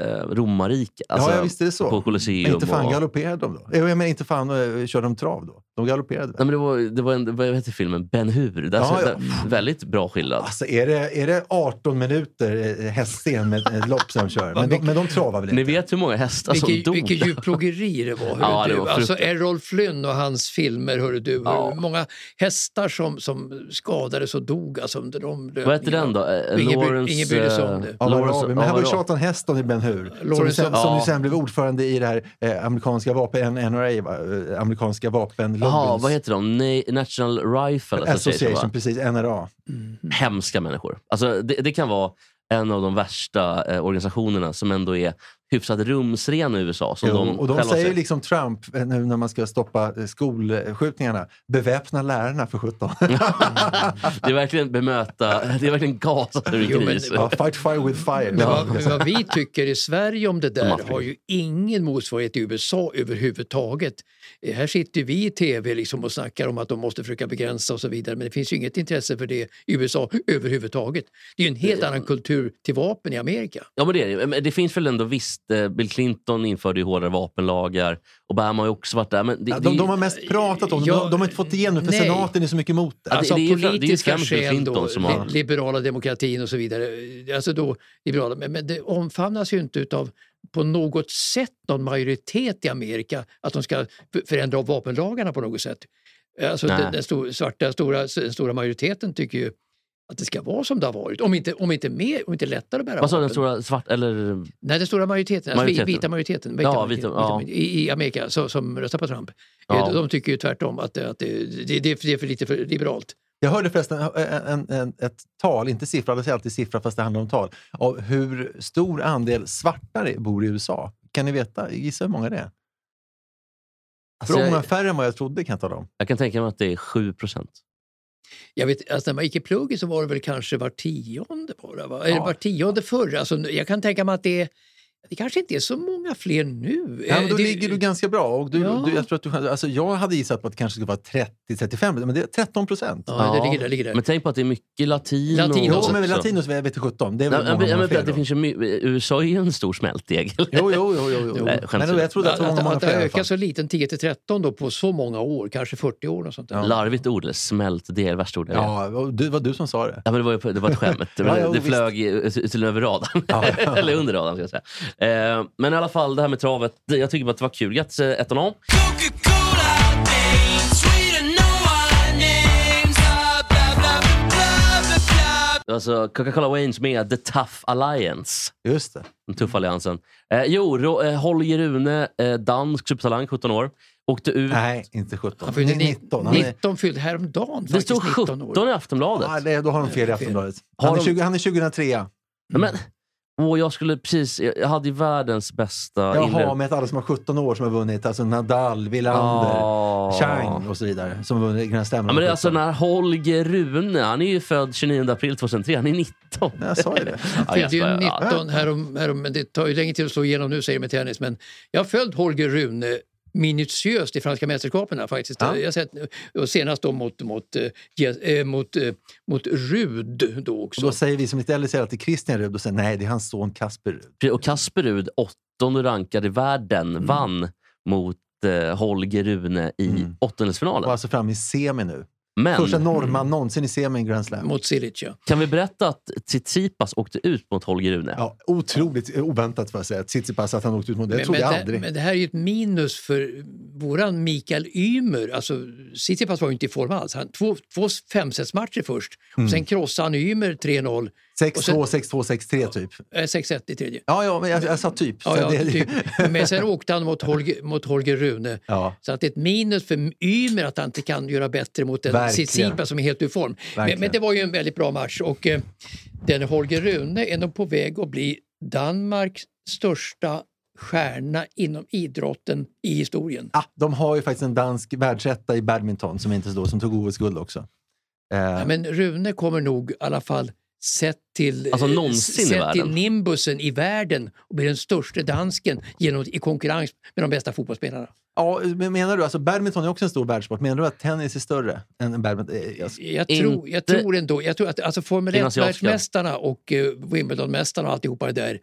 eh, romarriket.
ja, ja, visst är det så.
Alltså, På
Men
Colosseum.
inte fan
och-
galopperade de då? Jo, Jag menar, inte fan eh, körde de trav då? De galopperade väl?
Nej, men det var, det var en, vad heter filmen? Ben Hur. Där,
Ja, ja.
där, väldigt bra skillnad.
Alltså, är det, är det 18 minuter eh, häststen med ett lopp som de kör? Men de, men de travar väl inte?
Ni vet hur många hästar som
Vilket,
Alltså, dog?
vilket djurplågeri det var. Hörru,
Ja, det
du.
var
alltså
fruktansvärt.
Errol Flynn och hans filmer. Hörru, du. Hur
Ja.
många hästar som, som skadades och dog alltså, under de
Vad hette
löpningarna.
den då? Eh,
Ingen bry-
Lawrence,
ingen brydde sig om
eh,
det.
Ja, vad
Lawrence-
bra. men här var ju
vad bra.
Charlton Heston i Ben Hur som, ju
Lawrence-
sen, som
Ja.
ju sen blev ordförande i det här eh, amerikanska vapen, NRA, va? Eh, amerikanska
Jaha, vad
vapenlobbyns
heter de? Na- National Rifle Association.
association,
va?
precis, NRA.
Hemska människor. Alltså, det, det kan vara en av de värsta eh, organisationerna som ändå är hyfsat rumsren i USA. Som
Jo,
de
och de
själva
säger ju liksom Trump, eh, nu när man ska stoppa eh, skolskjutningarna, beväpna lärarna för 17.
Det är verkligen bemöta, det är verkligen gasat ur
Jo, men-
gris.
ja, fight fire with fire.
Men vad, men vad vi tycker i Sverige om det där
Afrika.
har ju ingen motsvarighet i USA överhuvudtaget. Eh, Här sitter ju vi i tv liksom och snackar om att de måste försöka begränsa och så vidare men det finns ju inget intresse för det i USA överhuvudtaget. Det är ju en helt annan kultur till vapen i Amerika.
Ja, men det, är det. ju. Men det finns väl ändå visst, eh, Bill Clinton införde ju hårdare vapenlagar. Obama har ju också varit där. Men det,
Ja,
det är
de,
ju-
de har mest pratat om det,
Ja,
de, de har inte fått igenom det för
nej.
senaten är så mycket emot det.
Ja,
Alltså
det är
av
ju- det är ju
politiska
främst Bill
skäl då,
Clinton som har-
li- liberala demokratin och så vidare. Alltså då, liberala, men, men det omfamnas ju inte utav på något sätt någon majoritet i Amerika att de ska f- förändra av vapenlagarna på något sätt. Alltså
Nej.
den, den stor, svarta, stora, den stora majoriteten tycker ju att det ska vara som det har varit, om inte, om inte, mer, om inte lättare att bära
Vad sa du, den
vapen.
stora svart... Eller,
Nej, den stora majoriteten, alltså
Majoriteten.
vita majoriteten, vita
Ja,
majoriteten
vita- ja.
vita- I, i Amerika så, som röstar på Trump. Eh,
Ja.
De tycker ju tvärtom att, det- att det, det, det är för lite för liberalt.
Jag hörde förresten en, en, en, ett tal, inte siffra, jag säger alltid siffra fast det handlar om tal, av hur stor andel svarta det bor i USA. Kan ni veta, gissa hur många det är?
alltså,
Bra många
jag,
färre än vad jag trodde kan jag tala om.
jag kan tänka mig att det är 7 procent.
Jag vet, alltså när man gick i plugget så var det väl kanske var tionde bara, va? Eller
Ja.
var tionde förr. Alltså, nu- jag kan tänka mig att det, är- det kanske inte är så många fler nu.
Ja, men då
Eh, det,
ligger du ganska bra. Och du,
Ja.
du, jag, tror att du, alltså jag hade gissat på att det kanske skulle vara 30-35, men det är 13 procent.
ja,
Ja.
det ligger där. Ligger där.
Men tänk på att det är mycket latinos.
Latinos.
Jo,
också.
men latinos vet inte 17. Det är
Ja,
väl
men-
många,
ja,
många
men för
fler
att det
då.
finns ju, my- USA är ju en stor smältdegel.
Jo, jo, jo. jo, jo.
Jo.
Nej, skämt
men jag trodde
att,
att det var
att,
många, många
att det
fler. i
har
alla fall.
ökat så liten, 10 till 13 då, på så många år, kanske 40 år. Och sånt där.
Larvigt ord, eller smält del, värsta ordet. Ja.
Ja, och du, det var du som sa det.
Ja, men det, var, ju- det var ett skämt. Det,
Ja, ja,
det
visst.
flög i- till över radarn.
Ja.
eller under radarn, ska jag säga. Eh, men i alla fall, det här med travet. det- Jag tycker bara att det var kul. Grattis, eh, ettan om.
Coca-Cola days, we don't know our names. Ah, blah, blah, blah, blah, blah.
Alltså Coca-Cola Waynes med The Tough Alliance.
Just det.
Den tuffa alliansen. Eh, jo, Ro, eh, Holger Rune, eh, dansk supertalang, 17 år. Åkte ut.
Nej, inte 17.
Han fyllde
Ni-
19,
Han är-
19 fyllde häromdagen.
det stod
faktiskt, 19 år.
17 i Aftonbladet.
Ja, det, då har de fel i Aftonbladet. Han
Har
är,
de-
20, han är 2003. Jaha,
Nej, Men, åh, jag skulle precis... Jag hade ju världens bästa
Jaha, med alla som har 17 år som har vunnit. Alltså Nadal, Wilander,
Ja.
Chang och så vidare. Som har vunnit Grand Slam.
Ah. Ja, men det är alltså när Holger Rune, han är ju född 29 april 2003, han är 19.
Nej, jag sa ju det.
Ja, jag
Fyllde ju
skojar.
19
Ja.
härom, härom, men det tar ju länge till att slå igenom nu säger de med tennis. Men jag har följt Holger Rune minutiöst i franska mästerskapen här, faktiskt.
Ja.
Jag har sett, och senast då mot, mot, eh, Jes- eh, mot, eh, mot Rud då
Och
också.
då säger vi som inte äldre säger att det är Christian Rud och säger nej, det är hans son Kasper Rud.
Och Kasper Rud, åttonde rankad i världen, vann mot eh, Holger Rune i
Mm.
åttondelsfinalen.
Och alltså framme i semi nu.
Men
Första norrman någonsin i semi i Grand Slam.
Mot Cilic, ja.
kan vi berätta att Tsitsipas åkte ut mot Holger Rune?
Ja, otroligt eh, oväntat får jag säga. Tsitsipas att han åkte ut mot det. Jag
men,
trodde jag
det,
aldrig.
men det här är ju ett minus för våran Mikael Ymer. Alltså, Tsitsipas var ju inte i form alls. Han, två två femsetsmatcher först.
Mm.
Och sen krossade han Ymer 3-0,
6-2, 6-2, 6-3 typ.
eh, 6-1 i tredje.
Ja, ja, men jag, jag sa typ.
Ja,
så
ja,
det-
typ. Men sen åkte han mot Holger, mot Holger Rune.
Ja.
Så att det är ett minus för Ymer att han inte kan göra bättre mot en
Verkligen.
Tsitsipas som är helt ur form. Men,
Verkligen.
men det var ju en väldigt bra match och eh, den Holger Rune är nog på väg att bli Danmarks största stjärna inom idrotten i historien.
Ah, de har ju faktiskt en dansk världsetta i badminton som inte står som tog OS-guld också. Eh,
Ja, men Rune kommer nog i alla fall sett till, eh,
Alltså någonsin i
sett till
världen.
nimbusen i världen och blir den största dansken genom, i konkurrens med de bästa fotbollsspelarna.
ja, men menar du, alltså badminton är också en stor världssport, menar du att tennis är större än badminton? Eh, jag-
Jag tror, jag
Inte-
tror ändå, jag tror att alltså Formel
Den asiatiska.
1-världsmästarna och eh, Wimbledonmästarna och alltihopa det där,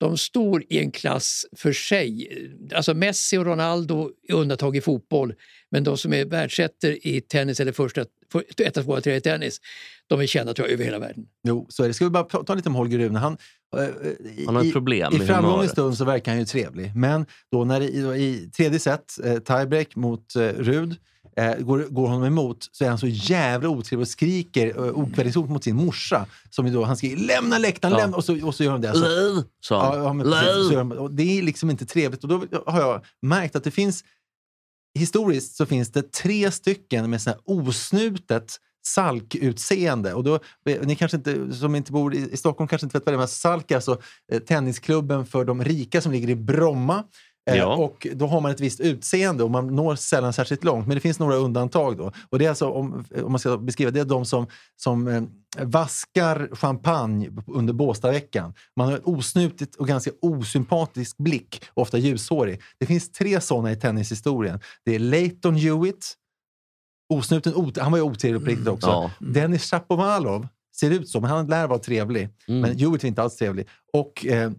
de står i en klass för sig. Alltså Messi och Ronaldo är undantag i fotboll, men de som är världsettor i tennis eller första, för, etta, tvåa, trea i tennis, de är kända tror jag över hela världen.
Jo, så är det. Ska vi bara ta, ta lite om Holger Rune? Han, eh, eh, i-
Han har ett
i-
problem
I
med
framgångens
humöret.
stund så verkar han ju trevlig, men då när det, i, då i tredje set, eh, tiebreak mot eh, Rud, eh, går, går honom emot så är han så jävla otrevlig och skriker eh, okvädingsord mot sin morsa. Som ju då, han skriker “lämna läktaren,
Ja.
lämna!” och så, och så gör de det. Alltså, Så,
Löv, sa
ja,
han.
ja, men precis, så
Löv.
gör de, och det är liksom inte trevligt. Och då har jag märkt att det finns, historiskt så finns det tre stycken med sån här osnutet salkutseende. Och då, ni kanske inte, som inte bor i, i Stockholm kanske inte vet vad det är, men Salk är alltså eh, tennisklubben för de rika som ligger i Bromma. Eh,
Ja.
Och då har man ett visst utseende och man når sällan särskilt långt. Men det finns några undantag då. Och det är alltså, om, om man ska beskriva, det är de som, som eh, vaskar champagne under Båstadveckan. Man har ett osnutigt och ganska osympatisk blick, ofta ljushårig. Det finns tre sådana i tennishistorien. Det är Leighton Hewitt, osnuten, ot- han var ju otrevlig på riktigt också.
Mm, Ja.
Dennis Shapovalov ser ut så, men han lär vara trevlig.
Mm.
Men Hewitt är inte alls trevlig. Och eh,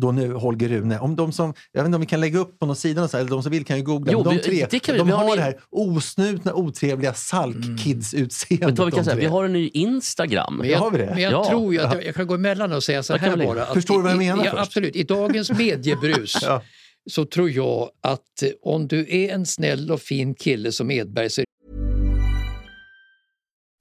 då nu Holger Rune. Om de som, jag vet inte om vi kan lägga upp på någon sida, någonstans, eller de som vill kan ju googla.
Jo,
de
vi-
tre,
det kan vi-
de
vi har
har,
en-
det här osnutna, otrevliga salk-kids-utseendet.
Vet du vad vi
de
kan säga?
tre.
Vi har en ny Instagram.
Men jag,
har vi det?
Men jag
Ja.
tror ju att jag, jag kan gå emellan och säga så
Vad kan
här
vi-
bara. Att
Förstår du vad jag
i- i-
menar
ja,
först?
Absolut. I dagens mediebrus
Ja.
så tror jag att eh, om du är en snäll och fin kille som Edberg så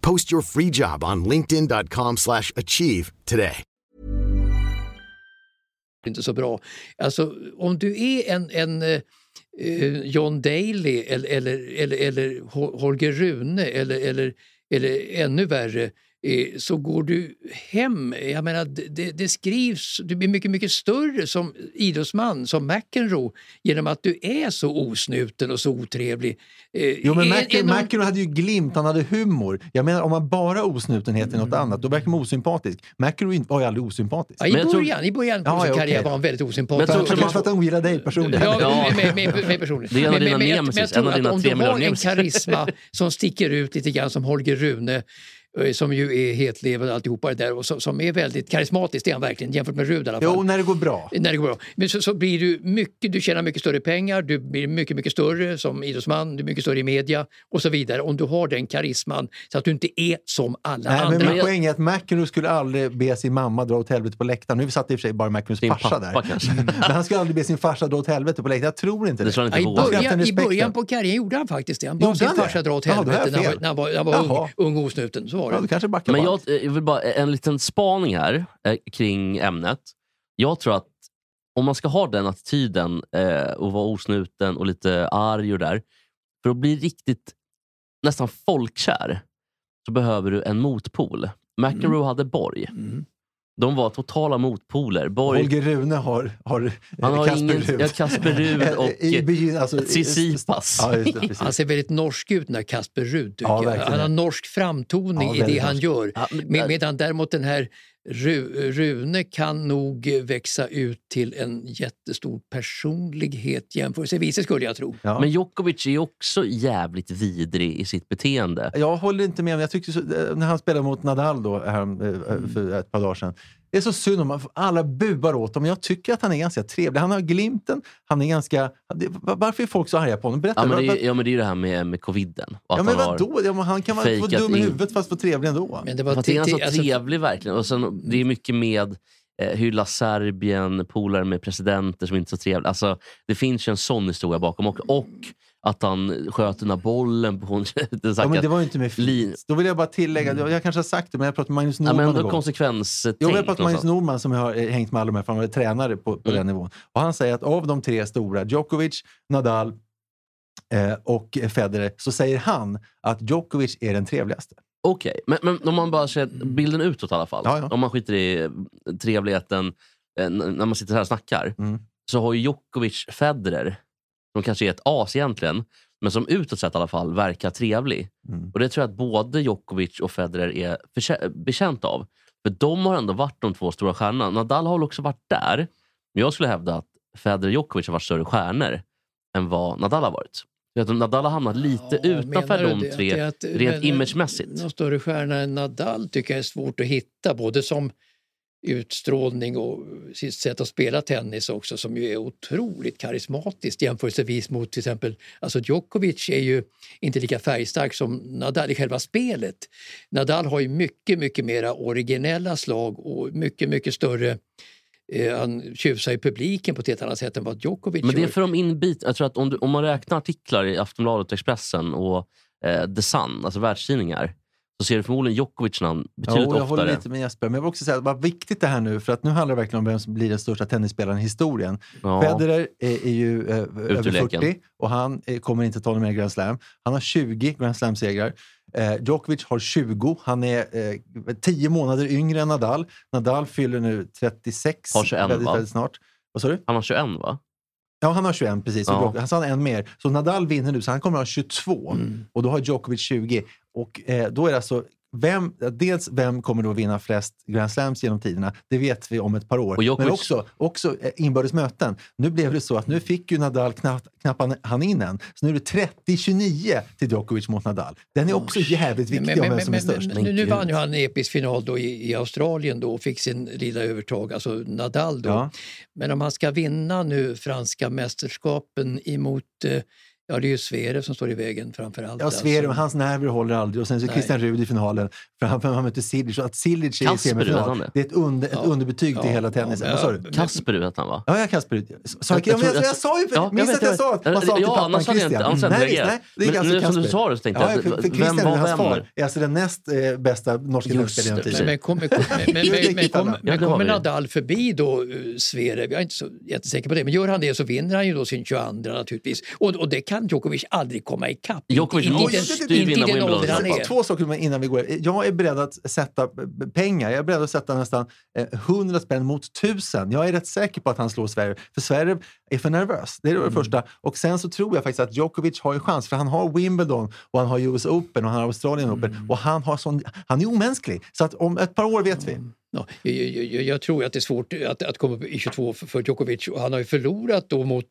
Post your free job on linkedin.com/achieve slash achieve today.
inte så bra. Alltså, om du är en, en eh, eh, John Daly eller, eller, eller, eller Ho- Holger Rune eller, eller, eller ännu värre eh, så går du hem. Jag menar, det- det, det skrivs, du blir mycket, mycket större som idrottsman, som McEnroe, genom att du är så osnuten och så otrevlig. Eh,
Jo, men
är- är
Macken,
någon-
Macken hade ju glimt, han hade humor. Jag menar, om man bara osnutenhet är något annat, då verkar man osympatisk. Macken var ju aldrig osympatisk.
Ja, I
Men jag tror-
början, i början på
Ja,
sin
ja,
karriär
okej.
var han väldigt
Men
osympatisk.
jag
För
tror
att-
man-
Kanske att han gillade dig personligen.
Ja,
Ja.
med, med, med personer.
Det är en av
Men-
dina
men- men jag-
nemesis,
men jag tror
en
att
av dina
om
tre
du har en
miljoner.
karisma som sticker ut lite grann som Holger Rune eh, som ju är helt levande och alltihopa det där och som, som är väldigt karismatisk, det är han verkligen jämfört med Rud i alla fall.
Jo, när det går bra.
När det går bra. Men så, så blir du mycket, du tjänar mycket större pengar, du blir mycket, mycket större som idrottsman, du är mycket större i media och så vidare. Om du har den karisman så att du inte är som alla
Nej, men
andra.
min poäng är att McEnroe skulle aldrig be sin mamma dra åt helvete på läktaren. Nu satt i och för sig bara McEnroes
Din
farsa
pappa
där. Mm.
kanske.
Men han skulle aldrig be sin farsa dra åt helvete på läktaren. Jag tror inte
Det
det.
tror jag
Ja,
inte
I
på.
Jag har haft
början,
den
I
respekten.
början på karriären gjorde han faktiskt det. Han
Gjorde
bad sin
han det?
farsa dra åt
Ja, då har jag
helvete när han var-
fel.
när han var, när han var
Jaha.
ung, ung och osnuten. Så var det.
Ja, du kanske backar
Men
på
jag, eh,
allt.
jag vill bara en liten spaning här eh, kring ämnet. Jag tror att om man ska ha den attityden eh, och vara osnuten och lite arg och där, för att bli riktigt nästan folkkär så behöver du en motpol. McEnroe hade Borg.
Mm.
De var totala motpoler. Borg,
Holger Rune har, har,
han har
Kasper
ingen...
Ruud.
Ja, Kasper Ruud och...
I begyn- alltså, i-
Tsitsipas.
Ja, just det, precis.
Han ser väldigt norsk ut när Kasper Ruud tycker
Ja,
jag.
verkligen.
Han har norsk framtoning
Ja,
i det
väldigt
han
norsk.
gör.
Ja, men-
Med, medan däremot den här Ru, Rune kan nog eh, växa ut till en jättestor personlighet jämförelsevis, det skulle jag tro.
Ja.
Men Djokovic är också jävligt vidrig i sitt beteende.
Jag håller inte med. men Jag tyckte så, eh, när han spelade mot Nadal då, här, eh, för ett par dagar sedan. Det är så synd om honom. Alla buar åt honom. Jag tycker att han är ganska trevlig. Han har glimten. Han är ganska... det- Varför är folk så arga på honom? Berätta.
Ja, men det,
Var-
är- ja, men det är ju det här med, med coviden. och att
Ja, men
han har-
vadå? Ja, men han kan vara
fejkat
dum i
in.
huvudet fast vara trevlig ändå.
Men det
För
var
att det är han
till-
så
till- alltså-
trevlig verkligen. Och sen, det är mycket med eh, hylla Serbien, polare med presidenter som inte är så trevliga. Alltså, det finns ju en sån historia bakom också. Och att han sköt den där bollen på en den
Ja, men det
stackars...
var ju inte med
Lin- Mm.
Då vill jag bara tillägga, jag kanske har sagt det, men jag pratade med Magnus
Ja,
Norman
men
en
ändå
gång.
konsekvenstänk.
Jag vet att Magnus
någonstans.
Norman som jag har eh, hängt med alla de här, för han var tränare på, på
Mm.
den nivån. Och han säger att av de tre stora, Djokovic, Nadal eh, och Federer, så säger han att Djokovic är den trevligaste.
Okej, men, men om man bara ser bilden utåt i alla fall.
Mm. Ja, ja.
Om man skiter i eh, trevligheten eh, n- när man sitter här och snackar.
Mm.
Så har ju Djokovic Federer, som kanske är ett as egentligen, men som utåt sett i alla fall verkar trevlig.
Mm.
Och Det tror jag att både Djokovic och Federer är förtjä- betjänt av. För de har ändå varit de två stora stjärnorna. Nadal har väl också varit där. Men jag skulle hävda att Federer och Djokovic har varit större stjärnor än vad Nadal har varit. Jag vet att Nadal har hamnat lite
Ja,
utanför
menar du
de
det?
tre
Det är att-
rent
men, eh,
imagemässigt.
Någon större stjärna än Nadal tycker jag är svårt att hitta, både som utstrålning och sitt sätt att spela tennis också som ju är otroligt karismatiskt jämförelsevis mot till exempel, alltså Djokovic är ju inte lika färgstark som Nadal i själva spelet. Nadal har ju mycket, mycket mera originella slag och mycket, mycket större eh, han tjusar i publiken på ett helt annat sätt än vad Djokovic
Men det är
gör.
för de inbit. Jag tror att om, du, om man räknar artiklar i Aftonbladet, Expressen och eh, The Sun, alltså världstidningar, så ser du förmodligen Djokovic namn
Ja, och
betydligt
jag håller
oftare.
lite med Jesper, men jag vill också säga att vad viktigt det här nu, för att nu handlar det verkligen om vem som blir den största tennisspelaren i historien.
Ja.
Federer är, är ju eh,
ur
över
leken.
40 och han eh, kommer inte ta någon mer Grand Slam. Han har 20 Grand Slam-segrar. Eh, Djokovic har 20. Han är eh, 10 månader yngre än Nadal. Nadal fyller nu 36
Har 21,
väldigt,
va?
väldigt snart. Vad sa du?
Han var 21 va?
Ja, han har 21 precis.
Ja. Mm.
Ja. Han sa en mer. Så Nadal vinner nu, så han kommer att ha 22.
Mm.
Och då har Djokovic 20. Och eh, då är det alltså vem, dels vem kommer då vinna flest Grand Slams genom tiderna? Det vet vi om ett par år.
Och Djokovic-
Men också, också eh, inbördes möten. Nu blev det så att nu fick ju Nadal knappt, knappt han- han in än. Så nu är det 30-29 till Djokovic mot Nadal. Den är också jävligt viktig om vem som är störst.
men, nu, nu
Gud.
vann ju han en episk final då i, i Australien då och fick sin lilla övertag, alltså Nadal då.
Ja.
Men om han ska vinna nu franska mästerskapen emot, eh, ja det är ju Zverev som står i vägen alltså. framför allt.
Ja, Zverev, hans nerver håller aldrig. Och sen så
Nej.
Christian Rud i finalen. För han, för han möter Cilic. Och att Cilic är i
Kasper, vet han
semifinal,
det?
det är ett, under, ett
Ja.
underbetyg till
Ja,
hela
ja,
tennisen.
men-
Vad sa du?
Kasper vet han va?
Ja, jag Kasper ut. Så, jag,
tror-
jag, jag, jag, sa ju...
Ja, jag
minns
vet,
att jag
vet.
sa att man sa
ja,
till pappan
annars hade jag
Christian.
inte, annars hade jag
nej,
inte
nej, det är
Men
alltså
nu som du
Kasper.
sa det så tänkte
Ja,
jag,
för, för Christian,
vem var
hans
vem?
far, är alltså den näst eh, bästa norska
Just
tennisspelaren
det,
genom
Men,
tiden.
men, kommer, men, men,
Jag
men,
gick
men,
hittar
kommer-
den.
Ja,
men
det har
kommer
vi.
Nadal förbi då eh, Zverev? Jag är inte så jättesäker på det. Men gör han det så vinner han ju då sin 22 naturligtvis. Och, och det kan Djokovic aldrig komma ikapp.
Djokovic
Inte- inte-
måste
inte
ju
i
vinna
den ålder
Wimbledon.
han är.
Två saker men innan vi går. Jag är beredd att sätta b- pengar. Jag är beredd att sätta nästan eh, 100 spänn mot 1000. Jag är rätt säker på att han slår Sverige. För Sverige är för nervös. Det är det
Mm.
första. Och sen så tror jag faktiskt att Djokovic har en chans. För han har Wimbledon och han har US Open och han har Australian
Mm.
Open. Och han, har sån, han är omänsklig. Så att om ett par år vet
Mm.
vi.
Ja, jag, jag, jag- jag tror att det är svårt att, att komma upp i 22 för, för Djokovic. Och han har ju förlorat då mot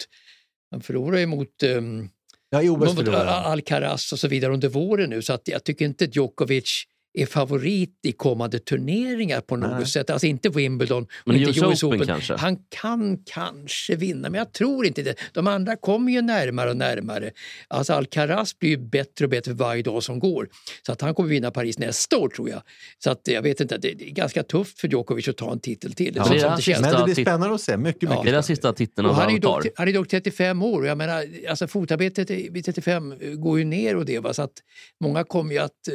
han förlorar ju mot, ehm,
Jag är OS
mot
äh,
förlorare.
Al- Alcaraz och så vidare under våren nu så att jag tycker inte att Djokovic är favorit i kommande turneringar på något sätt. Alltså inte Wimbledon och
Men
inte
US Open kanske?
Han kan kanske vinna men jag tror inte det. De andra kommer ju närmare och närmare. Alltså Alcaraz blir ju bättre och bättre för varje dag som går. Så att han kommer vinna Paris nästa år tror jag. Så att eh, jag vet inte, det det är ganska tufft för Djokovic att ta en titel till.
Ja,
som-
det är
som
hans
känns.
sista
Men det blir
titt-
spännande att se. Mycket,
Det är
mycket
den
spännande.
sista titeln
Och han,
han,
är ju
tar.
dock, han är dock 35 år och jag menar, alltså fotarbetet i- vid 35 går ju ner och det. Va? Så att många kommer ju att... eh,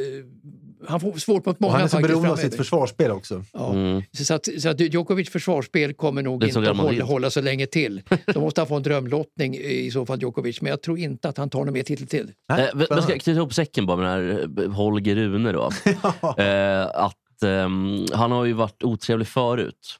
han får svårt mot
Och
många
han är så
faktiskt
beroende av
framöver.
sitt försvarsspel också.
Ja. Så, så, att, så att Djokovic försvarsspel kommer nog
Mm. Det är
inte
som
att
Real Madrid.
hålla, hålla så länge till. Då måste han få en drömlottning eh, i så fall, Djokovic. Men jag tror inte att han tar någon mer titel till.
Nej,
Eh, vi- jag ska knyta ihop säcken bara med den här eh, Holger Rune. Då. eh, att, ehm, han har ju varit otrevlig förut.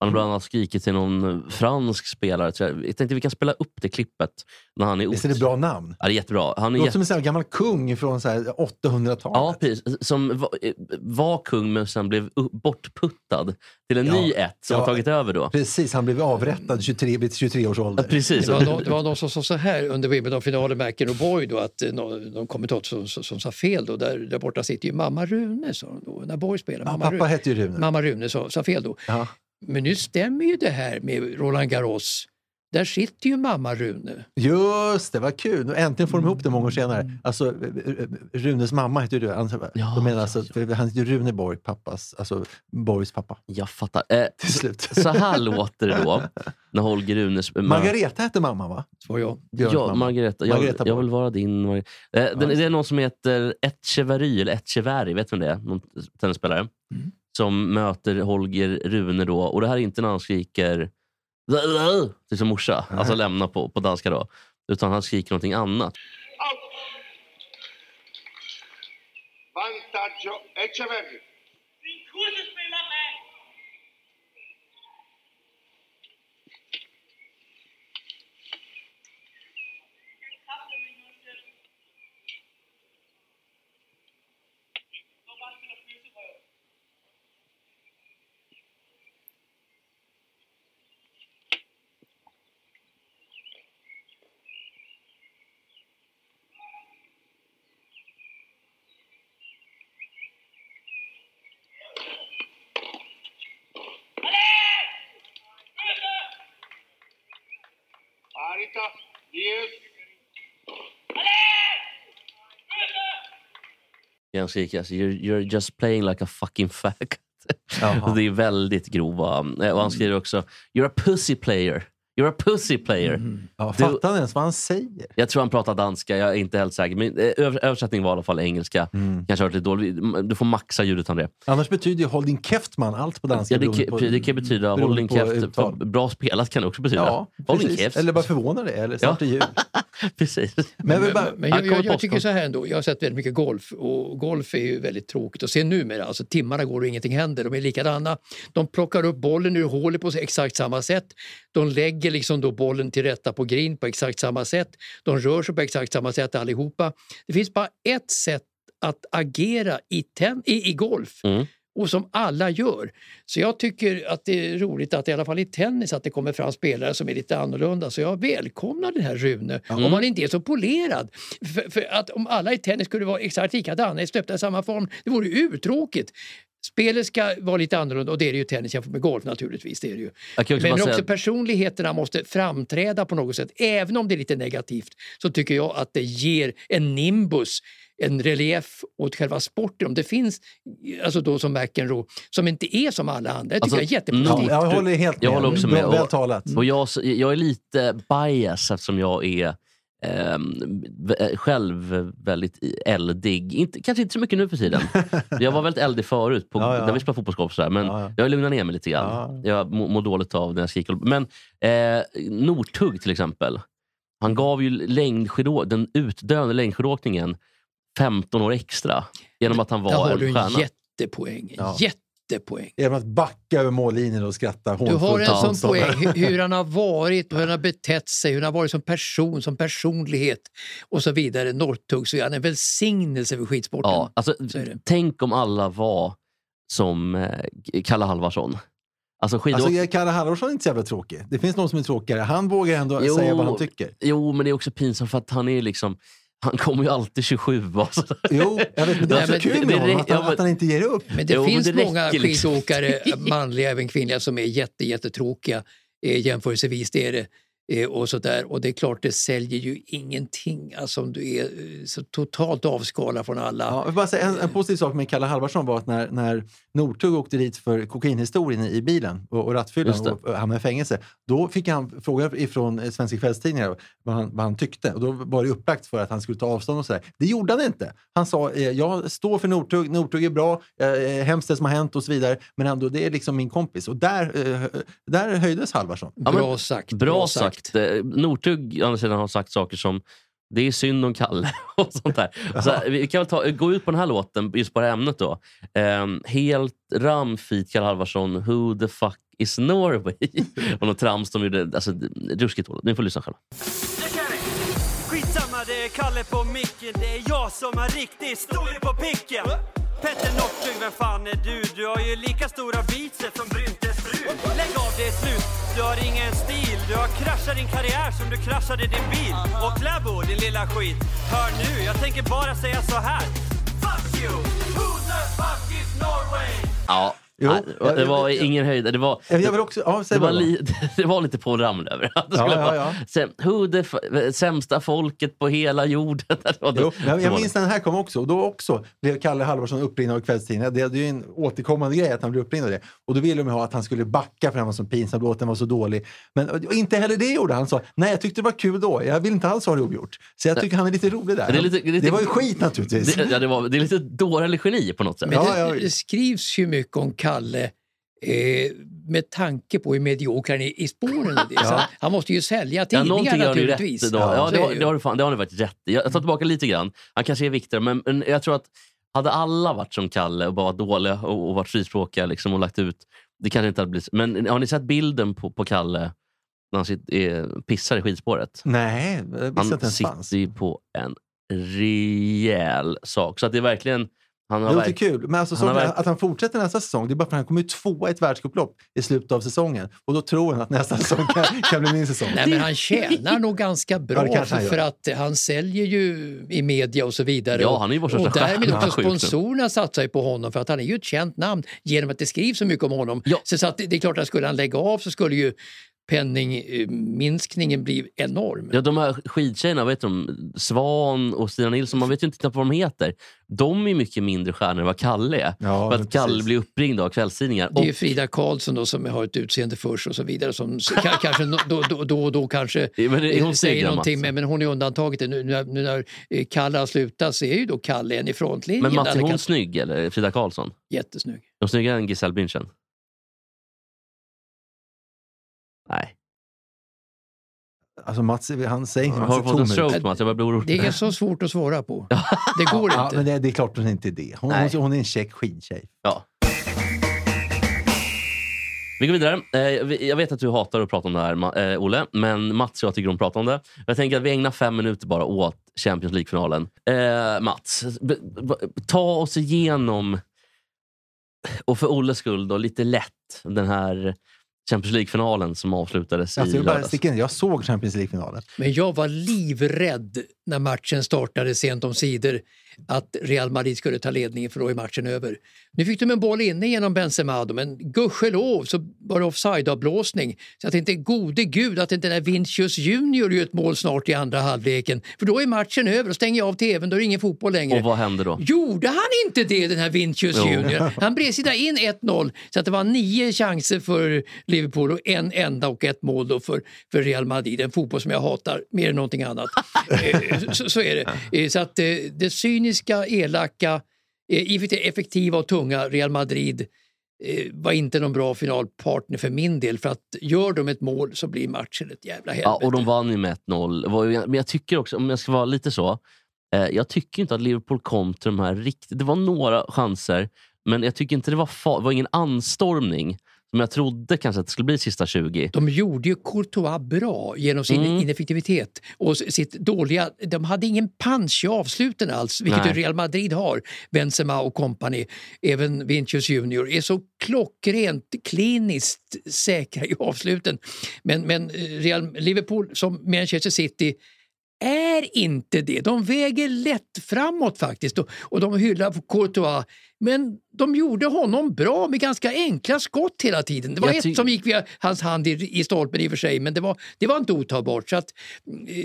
Han har bland annat skrikit till någon fransk spelare. tror Jag jag tänkte vi kan spela upp det klippet. När han är
Visst är det
otre-
bra namn?
Ja, det är jättebra. Han är
Det låter
jätte...
som en sån här gammal kung från så här 800-talet.
ja, precis. Som var, eh, var kung men sen blev u- bortputtad till en
Ja.
ny ett som
Ja.
har tagit över då.
Precis, han blev avrättad 23, vid 23 års
Ja,
ålder.
precis.
Det var, någon, det var någon som sa så här under Wimbledon-finalen med Eckenroborg då att eh, någon, någon kommentator som, som, som sa fel då. Där, där borta sitter ju mamma Rune, sa de då, när Borg spelar.
Ja,
Mamma
pappa
Rune.
hette ju Rune.
Mamma Rune sa, sa fel då.
Ja.
Men nu stämmer ju det här med Roland Garros Där sitter ju mamma Rune.
Just det, vad kul! Nu äntligen får de ihop det många år senare. Alltså, Runes mamma heter ju du. Han,
Mm. Ja,
de menar
ja,
alltså, för Han heter ju Rune Borg, pappas, alltså Borgs pappa.
Jag fattar. Eh,
Till slut.
så här låter det då när Holger Runes...
Margareta hette mamma, va?
Svarar jag.
Björns
Ja,
mamma.
Margareta. Jag,
Margareta
jag
Borg.
vill vara din. Mar- eh, den, det är någon som heter Etcheverry, eller Etcheverry, vet du vem det är? Någon tennisspelare.
Mm.
Som möter Holger Rune då. Och det här är inte när han skriker "Äh, till sin morsa, alltså lämna på, på danska då. Utan han skriker någonting annat.
Out! Vantaggio Echeverri.
Include spela med. Jag tappade mig just nu. De bara spelar frysebröd.
Parita. Dies.
Han skriker alltså, you're, you're just playing like a fucking faggot.
Jaha. Mm.
Alltså, det är väldigt grova. Eh, Och han skriver också, you're a pussy player. You're a pussy player.
Ja,
Du-
fattar ni ens vad han säger?
Jag tror han pratar danska, jag är inte helt säker. Men eh, över- översättningen var i alla fall engelska.
Mm.
Kanske har varit lite dålig. Du får maxa ljudet, André.
Annars betyder ju Håll din käftman allt på danska.
Ja, det,
beroende
kan,
på-
det kan betyda
beroende
håll din
på
käft.
uttal.
Bra spelat kan det också betyda.
Ja,
håll din
precis.
käft.
Eller bara förvåna dig, eller snart
Ja.
är jul.
Precis.
Men jag vill bara...
Men
Han
jag,
kommer
jag, jag
påstå.
tycker så här ändå, jag har sett väldigt mycket golf och golf är ju väldigt tråkigt att se numera. Alltså, timmarna går och ingenting händer, de är likadana. De plockar upp bollen ur hålet på exakt samma sätt. De lägger liksom då bollen till rätta på green på exakt samma sätt. De rör sig på exakt samma sätt allihopa. Det finns bara ett sätt att agera i, ten, i, i golf
Mm.
och som alla gör. Så jag tycker att det är roligt att i alla fall i tennis att det kommer fram spelare som är lite annorlunda. Så jag välkomnar den här Rune,
Mm.
om han inte är så polerad. För, för att om alla i tennis skulle vara exakt likadana, stöpta i samma form, det vore ju urtråkigt. Spelet ska vara lite annorlunda och det är det ju i tennis jämfört med golf naturligtvis. Det är det ju.
Jag kan också
Men
bara
också
säga-
personligheterna måste framträda på något sätt. Även om det är lite negativt så tycker jag att det ger en nimbus, en relief åt själva sporten. Om det finns, alltså då som McEnroe, som inte är som alla andra. Det tycker
Alltså,
jag är jättepositivt.
noll.
jag håller helt med.
Jag håller också
Bra-
med.
Väl talat.
Och jag, jag är lite bias eftersom jag är ehm, v- själv väldigt eldig. Inte, kanske inte så mycket nu för tiden. Jag var väldigt eldig förut på,
Ja, ja.
när vi spelade fotbollsgolf. och sådär, Men
Ja, ja.
jag har lugnat ner mig lite grann. Jag mår mår dåligt av den här skriker. Men eh, Northug till exempel. Han gav ju längdskidå- den utdöende längdskidåkningen 15 år extra. Genom att han
Där
var
har du
en
en
stjärna.
jättepoäng.
Ja.
Jättepoäng.
Genom att backa över mållinjen och skratta
Du har en
hånfullt åt
sån
motståndaren.
poäng hu- hur han har varit, hur han har betett sig, hur han har varit som person, som personlighet och så vidare. Northug, så är han en välsignelse för skidsporten.
Ja, alltså,
Så är det.
tänk om alla var som eh, Kalle Halvarsson. Alltså skidåk...
Alltså, Kalle Halvarsson är inte så jävla tråkig. Det finns någon som är tråkigare. Han vågar ändå
Jo.
säga vad han tycker.
Jo, men det är också pinsamt för att han är ju liksom... Han kommer ju alltid 27. Alltså.
Jo, jag vet, men det är
Nej,
så
men
kul
det-
med
det-
honom, att han,
ja, men-
att han inte ger upp.
Men det
Jo, men
finns
det
många
räcker liksom.
skidåkare, manliga även kvinnliga, som är jätte, jättetråkiga eh, jämförelsevis. Det är det. Eh, och, sådär. och det är klart, det säljer ju ingenting alltså, om du är eh, så totalt avskalad från alla.
Ja, jag vill bara säga, en, en positiv sak med Kalle Halvarsson var att när, när Northug åkte dit för kokainhistorien i, i bilen och, och
Just
rattfyllan
det.
och, och hamnade i fängelse, då fick han fråga ifrån eh, svenska kvällstidningar vad han, vad han tyckte. Och då var det upplagt för att han skulle ta avstånd och sådär. Det gjorde han inte. Han sa, eh, jag står för Northug, Northug är bra, eh, hemskt det som har hänt och så vidare, men ändå, det är liksom min kompis. Och där, eh, där höjdes Halvarsson.
Ja, men-
bra sagt.
Bra, sagt. Eh, Northug å andra sidan, har sagt saker som det är synd om Kalle och sånt där. Så här, vi kan väl ta, eh, gå ut på den här låten, just på det här ämnet då. Ehm, helt ramfit Kalle Halvarsson, Who the fuck is Norway? och något trams de gjorde. Alltså, ruskigt dåligt. Ni får lyssna själva.
Jag kan det. Skitsamma, det är Kalle på micken. Det är jag som har riktigt storlek på picken. Petter Northug, vem fan är du? Du har ju lika stora biceps som Bryntes fru. Lägg av, det är slut. Du har ingen stil. Du har kraschat din karriär som du kraschade din bil. Och Kläbo, din lilla skit. Hör nu, jag tänker bara säga så här. Fuck you! Who the fuck is Norway?
Ja,
Jo,
Nej, det var- det var ingen höjd. Det var,
Jag jag vill också... Ja,
det
säg
var,
bara.
li, det var lite Paul Ramel över det.
Ja,
skulle
ja,
vara
ja.
Säm, who the f- sämsta folket på hela jorden. Det var-
Jo,
så var
jag, jag
det.
minns när den här kom också. Och då också blev Kalle Halvarsson uppringd av kvällstidningar. Det hade ju en återkommande grej att han blev uppringd av det. Och då ville de ha att han skulle backa för den var så pinsam, låten var så dålig. Men och inte heller det gjorde han. Han sa, nej jag tyckte det var kul då. Jag vill inte alls ha det ogjort. Så jag tycker han är lite rolig där.
Det är lite- lite-
det var ju skit naturligtvis.
Det, ja, det, var, det är lite dåre eller geni på något sätt.
Ja,
det,
ja,
det
visst.
skrivs ju mycket om Kalle eh, med tanke på hur medioker han är i spåren. Och det. Så han- han måste ju sälja
Ja,
tidningar
någonting har ni rätt
naturligtvis.
idag.
Ja,
Ja,
så
det,
är
har,
ju.
det, har du fan, det har ni varit rätt i. Jag tar tillbaka lite grann. Han kanske är viktigare, men, men jag tror att hade alla varit som Kalle och bara varit dåliga och, och varit frispråkiga liksom, och lagt ut, det kanske inte hade blivit... Men har ni sett bilden på, på Kalle när han sitter, är, pissar i skidspåret?
Nej, jag visste inte
Han
ens fanns.
sitter ju på en rejäl sak. Så att det är verkligen... Han
Det
har
låter
verk-
kul. Men alltså,
Han har
saken är
verk-
att han fortsätter nästa säsong, det är bara för att han kommer ju tvåa i ett världscuplopp i slutet av säsongen. Och då tror han att nästa säsong kan, kan bli min säsong.
Nej, men han tjänar nog ganska
Ja,
bra
det kanske
för,
han gör.
för att eh, han säljer ju i media och så vidare.
Ja,
Och-
han är ju vår
och
största
därmed
stjärna.
också
Sjukt nu.
sponsorerna satsar ju på honom för att han är ju ett känt namn genom att det skrivs så mycket om honom.
Ja.
Så, så att det, det är klart att skulle han lägga av så skulle ju penningminskningen bli enorm.
Ja, de här skidtjejerna, vad heter de? Svan och Stina Nilsson, man vet ju inte knappt vad de heter. De är ju mycket mindre stjärnor än vad Kalle är.
Ja,
för
men
att Kalle
precis.
blir uppringd av kvällstidningar.
Det är
Och
ju Frida Karlsson då som har ett utseende först och så vidare som s- ka- kanske no- då då, då, då kanske
Ja, men det-
eh,
hon alltså.
säger
seglar,
någonting,
Mats.
men, men hon är undantaget. Nu, nu, nu när eh, Kalle har slutat så är ju då Kalle en i frontlinjen.
men Mats,
där
är
det
hon
kan-
snygg eller Frida Karlsson?
Jättesnygg.
Är hon snyggare än Giselle Bündchen? Nej.
Alltså Mats, han säger inte, han
Har
ser
du fått en
tom ut.
stroke Mats? Jag börjar bli
Det
orolig.
är så svårt att svara på. Det går
Ja, men
inte.
det, det är klart hon inte är det. Hon,
Nej.
hon, hon är en käck skidtjej.
Ja. Vi går vidare. Eh, vi- Jag vet att du hatar att prata om det här, Ma- eh, Olle, men Mats och jag tycker om att prata om det. Jag tänker att vi ägnar fem minuter bara åt Champions League-finalen. Eh, Mats, b- b- ta oss igenom, och för Olles skull, då, lite lätt den här Champions League-finalen som avslutades
Alltså,
i
jag, bara
lördags.
sticka in. jag såg Champions League-finalen.
Men jag var livrädd när matchen startade sent om sidor att Real Madrid skulle ta ledningen för då är matchen över. Nu fick de en boll inne genom Benzema då, men gudskelov så var det offsideavblåsning. Så att inte gode gud att inte den där Vinicius Junior gör ett mål snart i andra halvleken. För då är matchen över och stänger jag av tvn, då är det ingen fotboll längre.
Och vad hände då?
Gjorde han inte det, den här Vinicius
Jo.
Junior? Han bredsida in 1-0, så att det var nio chanser för Liverpool och en enda och ett mål då för, för Real Madrid. En fotboll som jag hatar mer än någonting annat. Eh, så, så är det. Eh, Så att eh, det cyniska, elaka, eh, i och för sig effektiva och tunga Real Madrid eh, var inte någon bra finalpartner för min del. För att gör de ett mål så blir matchen ett jävla helvete.
Ja, och de vann ju med 1-0. Det var ju- Men jag tycker också, om jag ska vara lite så, eh, jag tycker inte att Liverpool kom till de här riktigt... Det var några chanser, men jag tycker inte det var, fa- det var ingen anstormning som jag trodde kanske att det skulle bli sista 20.
De gjorde ju Courtois bra genom sin
Mm.
ineffektivitet och s- sitt dåliga... De hade ingen punch i avsluten alls, vilket
Nej.
ju Real Madrid har. Benzema och company, även Vinicius Junior, är så klockrent kliniskt säkra i avsluten. Men, men eh, Real, Liverpool, som Manchester City, är inte det. De väger lätt framåt faktiskt och, och de hyllar Courtois. Men de gjorde honom bra med ganska enkla skott hela tiden. Det var
Jag
ett
ty-
som gick via hans hand i, i stolpen i och för sig, men det var, det var inte otagbart. Så att, eh,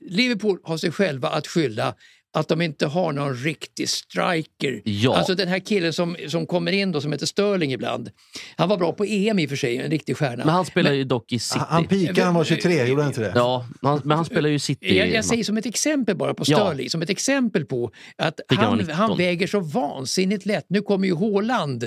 Liverpool har sig själva att skylla att de inte har någon riktig striker.
Ja.
Alltså den här killen som, som kommer in då, som heter Sterling ibland. Han var bra på EM i och för sig, en riktig stjärna.
Men han spelar ju dock i City.
Han, han pikade, han var 23, gjorde han inte det?
ja, han, men han spelar ju i City.
Jag, jag säger som ett exempel bara på
Ja.
Sterling, som ett exempel på att
Tycker han var
han,
19.
han väger så vansinnigt lätt. Nu kommer ju Haaland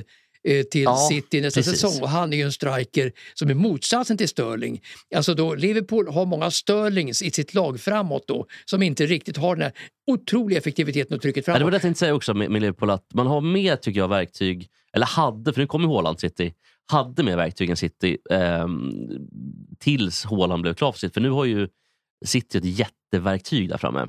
eh, till
Ja,
City nästa
precis.
säsong och han är ju en striker som är motsatsen till Sterling. Alltså då Liverpool har många Sterlings i sitt lag framåt då som inte riktigt har den här otroliga effektiviteten och trycket
Ja,
framåt.
det var det jag tänkte säga också med, med Liverpool, att man har mer tycker jag, verktyg, eller hade, för nu kommer ju Haaland City, hade mer verktyg än City ehm, tills Haaland blev klar för City. För nu har ju City ett jätteverktyg där framme.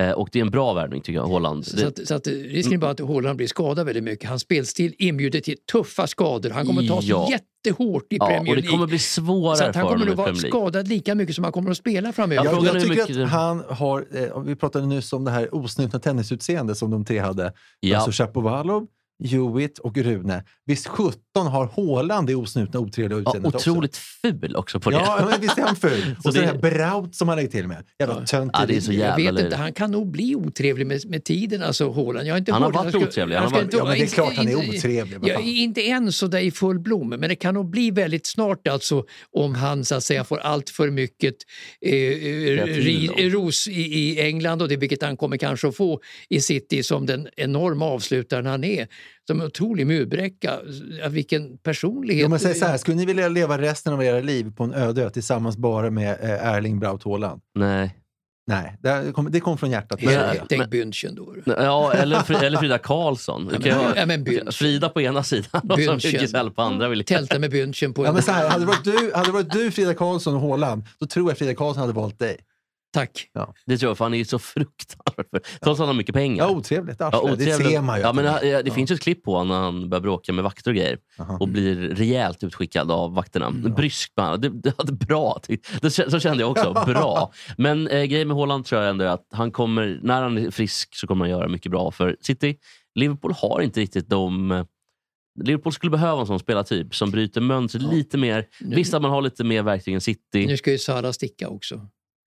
Eh, och det är en bra värvning tycker jag, Haaland.
Så att, så att eh, risken är bara att Haaland blir skadad väldigt mycket. Hans spelstil inbjuder till tuffa skador. Han kommer ta sig
Ja.
jättehårt i
ja,
Premier
och det
League.
kommer bli
så
svårare
att
för
han kommer
honom i
nog vara
Premier League.
skadad lika mycket som han kommer att spela framöver.
Ja,
Jag,
frågan
jag
är hur
tycker
mycket-
att han har, eh, vi pratade nyss om det här osnutna tennisutseende som de tre hade.
Ja.
Alltså Chapovalov, Hewitt och Rune. Visst 17 har Haaland det osnutna otrevliga
Ja,
utseendet
otroligt ful också på
också.
det.
Ja, men visst är han ful?
Så
och så
det-
det här Braut som han lägger till med. Jävla tönteri.
Ja, det är så
Jag
jävla
vet
löjligt.
inte, han kan nog bli otrevlig med, med tiden, alltså Haaland. Jag har inte
Han har
hört-
varit
ska-
otrevlig. Han
ska
har varit-
inte-
Ja, men det är
inte-
klart han är
inte-
otrevlig, men
Ja,
fan.
inte än så där i full blom, men det kan nog bli väldigt snart alltså om han så att säga får allt för mycket eh, ri,
då.
ros i, i England och det vilket han kommer kanske att få i City som den enorma avslutaren han är. Som en otrolig murbräcka. Ja, Vilken personlighet.
Om man säger så här, skulle ni vilja leva resten av era liv på en öde ö tillsammans bara med eh, Erling Braut Haaland?
Nej.
Nej, det här kom, det kom från hjärtat.
Eh,
Ja.
Tänk München då. du.
Ja, eller, Fri- eller Frida Karlsson.
Ja,
Kan jag-
men, ja, men München.
Frida på ena sidan och så
Bynchen.
Giselle på andra. Vill jag.
Tälta med München på
Ja,
en...
men så här, hade, det varit du, hade det varit du, Frida Karlsson och Haaland, då tror jag Frida Karlsson hade valt dig.
Tack.
Det tror jag, för han är ju så fruktansvärt ful. Trots att han har mycket pengar.
Ja, otrevligt arsle.
Ja, otrevlig.
Det ser man ju.
Ja, men, eh, det finns ju ett klipp på honom när han börjar bråka med vakter och grejer
Aha. Mm,
och blir rejält utskickad av vakterna. Bryskt bland annat. Det, det, det, bra. tyck- Det, så kände jag också. Bra. Men eh, grejen med Haaland tror jag ändå är att han kommer, när han är frisk så kommer han göra mycket bra för City. Liverpool har inte riktigt de... eh, Liverpool skulle behöva en sån spelartyp som bryter mönster lite mer. Visst att man har lite mer verktyg än City.
Nu ska ju Sara sticka också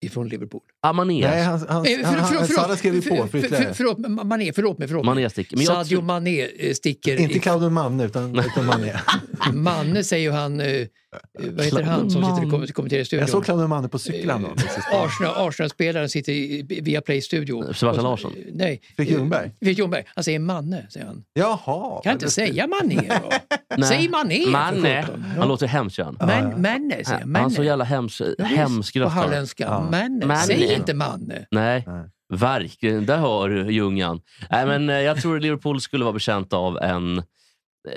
ifrån Liverpool.
Ah, Mané.
Nej, han, han,
Eh, för-
han,
förlåt,
han,
förlåt.
Sara skrev ju på
För-
för
för-
ytterligare.
Förlåt, men Mané, förlåt mig. Förlåt mig.
Mané sticker. Men jag
Sadio
tror-
Mané eh, sticker.
Inte
i-
Claudio Manne, utan, utan Manne.
Manne säger ju han... eh, Vad heter han som sitter och kom- kommenterar i studion?
Jag såg Claudio Manne på cykeln. Då, precis.
Arsenal- Arsenal-spelaren sitter i via Play studio.
Sebastian Larsson?
Nej.
Fredrik Ljungberg?
Fredrik Ljungberg. Han säger Manne, säger han.
Jaha.
Kan inte säga Mané då?
Nej.
Säg Mané! för
Mané.
sjutton.
Han låter hemskt gör han.
Man, manne, säger jag.
Han är så jävla hemsk, hemsk
På
röst.
halländska. Manne.
Manne.
Säg inte Manne.
Nej, verkligen. Där hör du Ljungan. Nej, men eh, jag tror Liverpool skulle vara betjänt av en eh,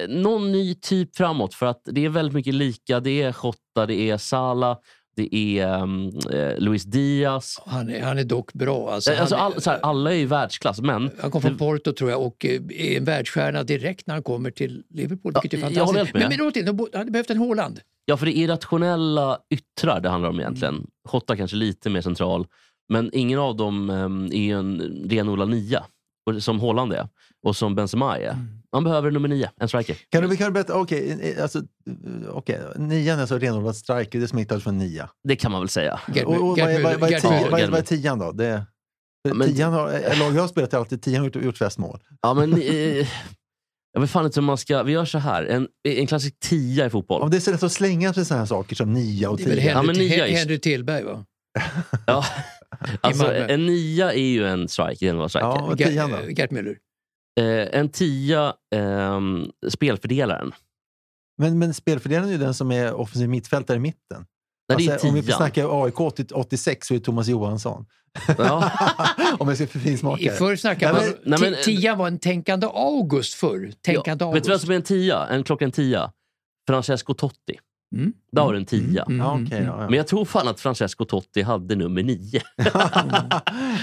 någon ny typ framåt. För att det är väldigt mycket lika. Det är Jota, det är Salah, det är um, eh, Luis Diaz.
Han är, han är dock bra. Alltså,
Eh, Alltså,
han,
all, så här, alla är i världsklass, men
Han kom från Porto tror jag och eh, är en världsstjärna direkt när han kommer till Liverpool.
Ja,
vilket är
jag
fantastiskt.
håller helt med.
Men, men åt det, de bo- hade behövt en Haaland.
Ja, för det är irrationella yttrar det handlar om egentligen. Hotta kanske lite mer central, men ingen av dem em, är ju en renodlad nia. Och- Som Haaland är och som Benzema är. Man behöver en nummer nio, en striker.
Kan du, kan du berätta? Okej, eh, alltså, eh, okej, nian är alltså renodlad striker. Det smittas från nia.
Det kan man väl säga.
Gerd
Och, och, vad, är, vad, är- vad, är
Gerd
tio,
Müller.
vad, är, vad är tian då? Det,
Ja, men-
tian har, eh, lag jag har spelat i alltid tian har gjort, gjort flest mål.
Ja, men, eh, jag vet fan inte hur man ska... Vi gör så här. En, en klassisk tia i
Om
fotboll.
det är så lätt att slänga sig sådana här saker som nia och
Det är väl
tia.
Ja, men
Henry,
nia
Hen-
just.
Henry Tillberg va?
Ja. Alltså,
Malmö.
en nia är ju en striker. En, striker.
Ja, och
Ger-
tian då?
eh, Gerd Müller.
Eh, en tia, ehm, spelfördelaren.
Men, men spelfördelaren är ju den som är offensiv mittfältare i mitten.
Nej, det är
Alltså, om vi
tian.
snackar AIK 80 86 så är det Thomas Johansson.
Ja.
om jag ska
I
finsmaka.
förr snackade
Nej,
man...
men- nej, men-
ti- Tian var en tänkande August förr. Tänkande
Ja, Vet
August.
du vem som är en tia? En klockan tia? Francesco Totti.
Mm.
Där har du en tia.
Mm.
Ja, okej, ja, ja.
Men jag tror fan att Francesco Totti hade nummer nio.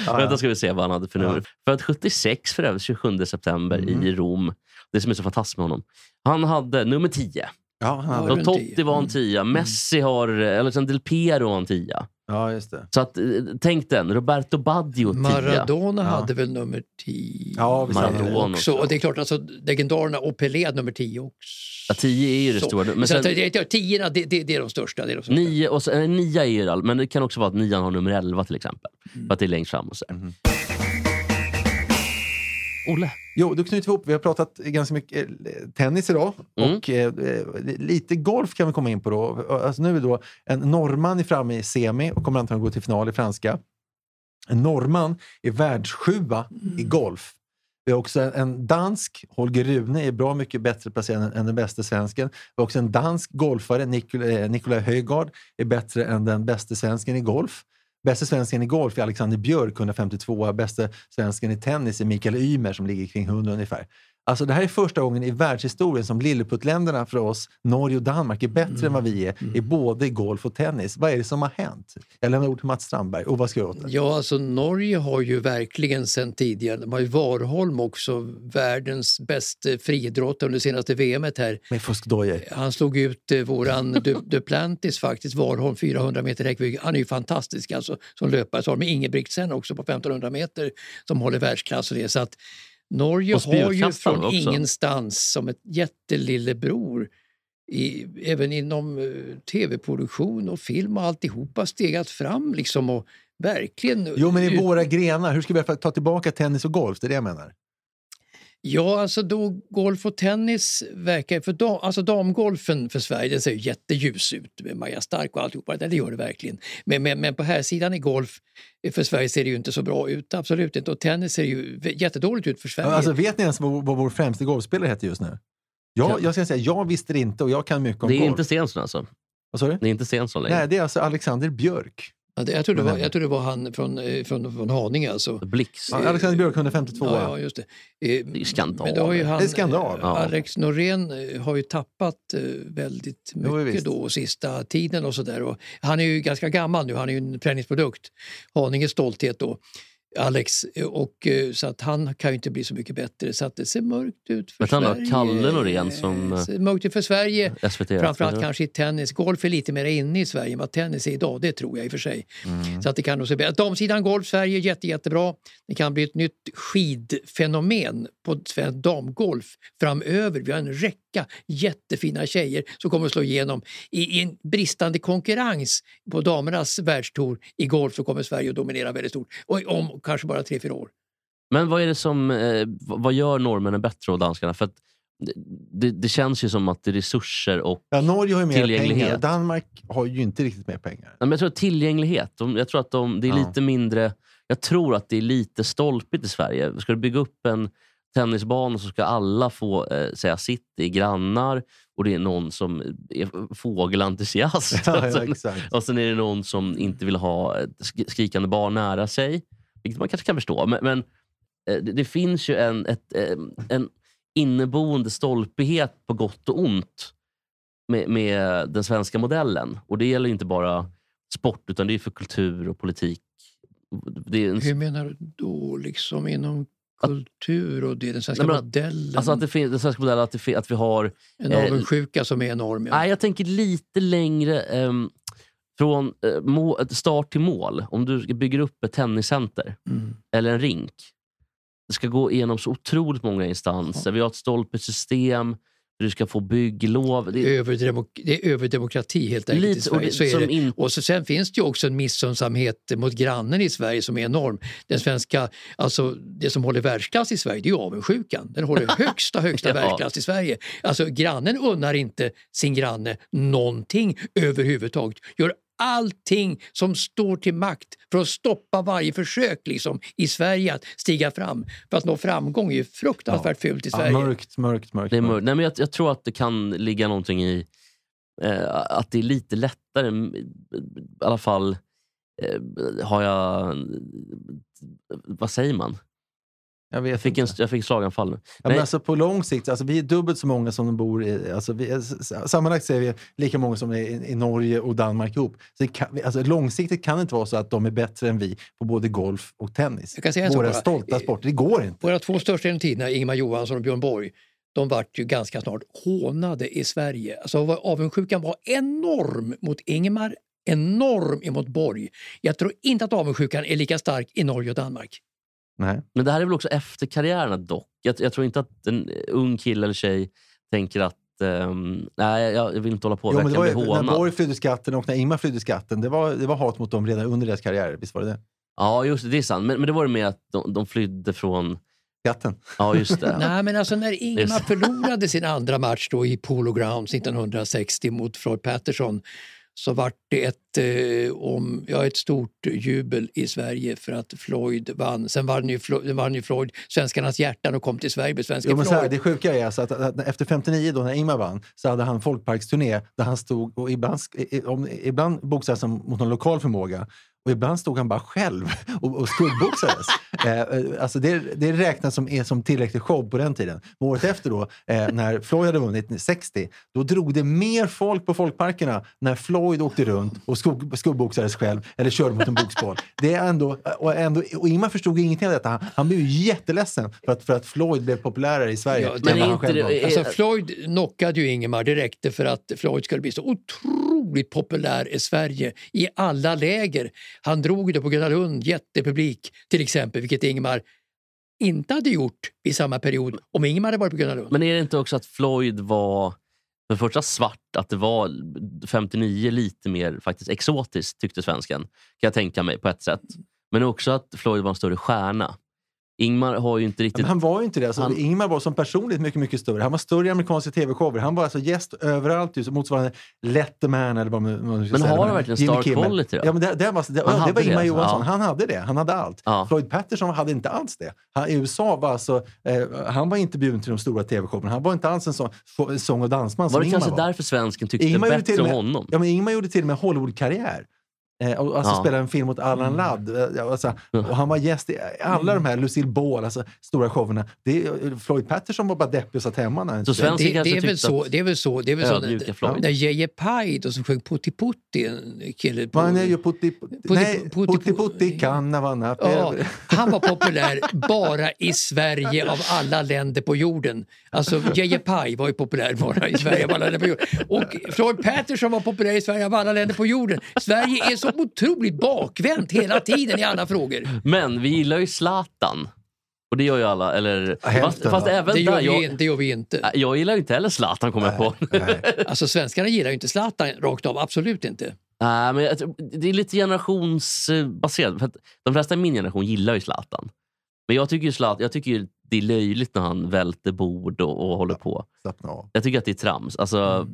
Vänta ska vi se vad han hade för nummer. För att 76, för övrigt 27 september i Rom. Det som är så fantastiskt med honom. Han hade nummer 10.
Ja, han hade-
Var det
Och
en
Totti
tia? Mm.
var en tia. Messi har... Eller sen Del Piero var en tia.
ja, just det.
Så att, eh, tänk den. Roberto Baggio tia.
Maradona hade väl nummer 10
Ja, visst hade han det.
Maradona
också.
också.
Och det är klart, alltså, legendarerna och Pelé hade nummer 10 också.
Ja, 10 är ju det stora. Men
så
sen,
att, det- det- tiorna, det, det, det är de största. Det är de största.
nio, och sen, eh, nia är ju det all- Men det kan också vara att nian har nummer 11 till exempel.
Mm.
För att det är längst fram. Och så. där. Olle.
Jo, då knyter vi ihop. Vi har pratat ganska mycket eh, tennis idag
Mm.
och eh, eh, lite golf kan vi komma in på då. Alltså nu är då en norrman är framme i semi och kommer antagligen gå till final i franska. En norrman är världssjua i golf. Vi har också en, en dansk, Holger Rune, är bra mycket bättre placerad än, än den bästa svensken. Vi har också en dansk golfare, Nikol, eh, Nikolaj Höjgaard, är bättre än den bästa svensken i golf. Bästa svensken i golf är Alexander Björk, 152. Bästa svensken i tennis är Mikael Ymer som ligger kring 100 ungefär. Alltså det här är första gången i världshistorien som lilleputtländerna för oss, Norge och Danmark, är bättre än vad vi är i både golf och tennis. Vad är det som har hänt? Jag lämnar ord till Mats Strandberg. Och vad ska jag åt det?
Ja, alltså Norge har ju verkligen sen tidigare, de har ju Warholm också, världens bästa friidrottare under senaste VMet här.
Med fuskdojor.
Han slog ut eh, våran Du- Duplantis faktiskt, Warholm 400 meter räckvidd. Han är ju fantastisk alltså som löpare. Så har de Ingebrigtsen också på 1500 meter som håller världsklass och det. Så att Norge
Och
har ju
spjutkastaren
från
också.
ingenstans som ett jättelillebror i, även inom eh, tv-produktion och film och alltihopa stegat fram liksom och verkligen...
Jo, men i
Eh,
ut-
våra grenar, hur ska vi ta tillbaka tennis och golf? Det är det jag menar.
Ja, alltså då golf och tennis verkar... För dam, alltså damgolfen för Sverige den ser ju jätteljus ut med Maja Stark och alltihopa. Det gör det verkligen. Men, men, men på här sidan i golf eh, för Sverige ser det ju inte så bra ut. Absolut inte. Och tennis ser ju jättedåligt ut för
Eh,
Sverige.
Alltså, vet ni ens vad, vad vår främste golfspelare heter just nu? Jag,
Ja.
jag ska säga, jag visste det inte och jag kan mycket om
Det är
golf.
inte Stensson alltså.
Vad sa du?
Det är inte Stensson längre.
Nej, det är alltså Alexander Björk.
Ja, det- jag, tror det var,
Men-
jag tror det var han från, eh, från, från Haninge alltså.
Blix.
Ja, Alexander Björk, 152.
Ja, ja, just det. Eh,
Det är ju skandal.
Men då har ju han,
Det är skandal.
eh, Alex Norén eh, har ju tappat eh, väldigt
Jo,
mycket
visst.
då sista tiden och sådär. Han är ju ganska gammal nu, han är ju en träningsprodukt. Haninges stolthet då. Alex, eh, och, eh, så att han kan ju inte bli så mycket bättre. Så att det ser mörkt ut för
Vet han då,
Sverige.
Kalle Norén som,
Det ser mörkt ut för Sverige.
SVT.
Framförallt kanske i tennis. Golf är lite mer inne i Sverige än vad tennis är idag, det tror jag i och för sig.
Mm.
Så att det kan nog se bättre. Damsidan golf, Sverige, är jätte, jättebra. Det kan bli ett nytt skidfenomen på svensk damgolf framöver. Vi har en räcka jättefina tjejer som kommer att slå igenom. I, i en bristande konkurrens på damernas världstour i golf så kommer Sverige att dominera väldigt stort. Och om kanske bara tre, fyra år.
Men vad är det som eh, v- vad gör norrmännen bättre och danskarna? För att det- det, det känns ju som att det är resurser och...
Ja, Norge har ju mer
Tillgänglighet.
pengar. Danmark har ju inte riktigt mer pengar.
Nej, men jag tror att tillgänglighet. De, jag tror att de, det är
Ja.
lite mindre... Jag tror att det är lite stolpigt i Sverige. Ska du bygga upp en tennisbana så ska alla få eh, säga sitt. Det är grannar och det är någon som är fågelentusiast.
Ja,
Alltså,
ja, exakt.
Och sen är det någon som inte vill ha ett sk- skrikande barn nära sig. Vilket man kanske kan förstå. Men, men eh, det, det finns ju en, ett, eh, en inneboende stolpighet på gott och ont med, med den svenska modellen. Och det gäller ju inte bara sport, utan det är för kultur och politik. Det är en,
Hur menar du då liksom inom kultur och det, den svenska
Nej, men-
modellen?
alltså att det finns, den svenska modellen, att, det, fin- att vi har
En
Eh,
avundsjuka som är enorm. Ja.
Nej, jag tänker lite längre ehm, från eh, må, start till mål. Om du bygger upp ett tenniscenter
Mm.
eller en rink. Det ska gå igenom så otroligt många instanser. Vi har ett stolpigt system. Du ska få bygglov. Det är
Överdemok- det är överdemokrati helt enkelt i
lite, och
Sverige.
det,
Så är
som
det.
in,
Och så, sen finns det ju också en missunnsamhet mot grannen i Sverige som är enorm. Den svenska, alltså det som håller världsklass i Sverige, det är ju avundsjukan. Den håller högsta, högsta
Ja.
världsklass i Sverige. Alltså grannen unnar inte sin granne någonting överhuvudtaget. Gör allting som står till makt för att stoppa varje försök liksom, i Sverige att stiga fram. För att nå framgång är ju fruktansvärt fult i
Ja,
Sverige.
mörkt, mörkt, mörkt.
det är
mörkt.
mörkt. Nej, men jag, jag tror att det kan ligga någonting i eh, att det är lite lättare. mm, I alla fall eh, har jag... Vad säger man?
Jag vet
Jag fick, en,
inte.
jag fick slaganfall nu.
Ja, men
Nej.
alltså på lång sikt, alltså vi är dubbelt så många som de bor i... Alltså vi är, s- sammanlagt så är vi lika många som är i, i Norge och Danmark ihop. Så det kan, vi- alltså långsiktigt kan det inte vara så att de är bättre än vi på både golf och tennis.
Jag kan säga en sak
Våra
bara.
stolta
Eh,
sporter. Det går inte.
Våra två största genom tiderna, Ingemar Johansson och Björn Borg, de vart ju ganska snart hånade i Sverige. Alltså vad- avundsjukan var enorm mot Ingemar, enorm emot Borg. Jag tror inte att avundsjukan är lika stark i Norge och Danmark.
Nej.
Men det här är väl också efter karriärerna dock. Jag, jag tror inte att en ung kille eller tjej tänker att ehm, nej, jag jag vill inte hålla på.
Jo,
Jo,
men
jag
det
kan
var,
bli
ju- när
hånad.
Borg flydde skatten och när Ingmar flydde skatten, det var, det var hat mot dem redan under deras karriär. Visst var det det?
Ja, just det. Det är sant. Men, men det var det med att de, de flydde från...
Skatten.
Ja, just det.
Nej, men alltså när Ingemar
Just.
förlorade sin andra match då i Polo Grounds 1960 mot Floyd Patterson så vart det ett, eh, om, ja, ett stort jubel i Sverige för att Floyd vann. Sen vann ju Floyd, vann ju Floyd svenskarnas hjärtan och kom till Sverige med svenska
Jo, men så här,
Floyd.
det sjuka är alltså att, att efter 59, då, när Ingmar vann, så hade han folkparksturné där han stod och ibland, sk- i- i- om- ibland boxades han mot någon lokal förmåga och ibland stod han bara själv och, och skuggboxades. eh, eh, alltså det, det räknas som, är som tillräcklig show på den tiden. Men året efter, då, eh, när Floyd hade vunnit 60, då drog det mer folk på folkparkerna när Floyd åkte runt och skugg- skuggboxades själv eller körde mot en boxboll. Det är ändå, och, ändå, och Ingmar förstod ingenting av detta. Han, han blev ju jätteledsen för att, för att Floyd blev populärare i Sverige.
Ja,
än
men
vad
är
han
inte
själv
det-
var.
är-
Alltså Floyd knockade ju Ingemar, det räckte för att Floyd skulle bli så otroligt populär i Sverige i alla läger. Han drog ju det på Gröna Lund, jättepublik till exempel, vilket Ingemar inte hade gjort i samma period om Ingmar hade varit på Gröna Lund.
Men är det inte också att Floyd var för det första svart, att det var 59 lite mer faktiskt exotiskt tyckte svensken. Kan jag tänka mig på ett sätt. Men också att Floyd var en större stjärna. Ingmar har ju inte
Men
riktigt...
han var ju inte det. Alltså,
Han-
Ingmar var som personligt mycket, mycket större. Han var större i amerikanska tv-shower. Han var alltså gäst överallt, just, motsvarande Letterman eller vad man vad man ska
Men
säga.
har han
Men-
verkligen
Jimmy
star
Kimmel.
quality då?
Ja, men det, det, var, det,
Han
ja, det
hade
var
det,
Ingmar
alltså.
Johansson.
Ja.
Han hade det. Han hade allt.
Ja.
Floyd Patterson hade inte alls det. Han, I USA var alltså, eh, han var inte bjuden till de stora tv-showerna. Han var inte alls en sån så, sång och dansman
var
som
det
Ingmar
kanske
var.
därför svensken tyckte
Ingmar gjorde till
bättre
och
om
med-
honom?
Ja, men Ingmar gjorde till och med Hollywood-karriär. Eh, och, alltså
Ja.
spelade en film mot Allan Ladd. Eh, ja, Alltså, och han var gäst i alla de här Lucille Ball, alltså stora showerna. Det, är- eh, Floyd Patterson var bara deppig och satt hemma. När han
Så Svensson
Det, det,
kanske
är väl
tyckte
så,
att-
det är väl så. Det är väl så
Ödmjuka
när,
Floyd.
när Jeje Paj då som sjöng Putti Putti, en kille på...
Man är ju putti, nej,
putti-
putti, putti, kannavana.
Ja,
Eh,
han var populär bara i Sverige av alla länder på jorden. Alltså Jeje Paj var ju populär bara i Sverige av alla länder på jorden. Och Floyd Patterson var populär i Sverige av alla länder på jorden. Sverige är så otroligt bakvänt hela tiden i alla frågor.
Men vi gillar ju Zlatan. Och det gör ju alla. Eller, fast,
hälften,
fast
va?
även
Det gör
där,
vi,
jag, äh,
inte, det gör vi inte.
jag gillar ju inte heller Zlatan kommer jag på.
Alltså svenskarna gillar ju inte Zlatan rakt av, absolut inte.
Nej, Äh, men jag, tror- det är lite generationsbaserat. För att de flesta i min generation gillar ju Zlatan. Men jag tycker ju, Zlatan, jag tycker ju det är löjligt när han välter bord och, och håller på.
Slappna av.
Jag tycker att det är trams. Alltså,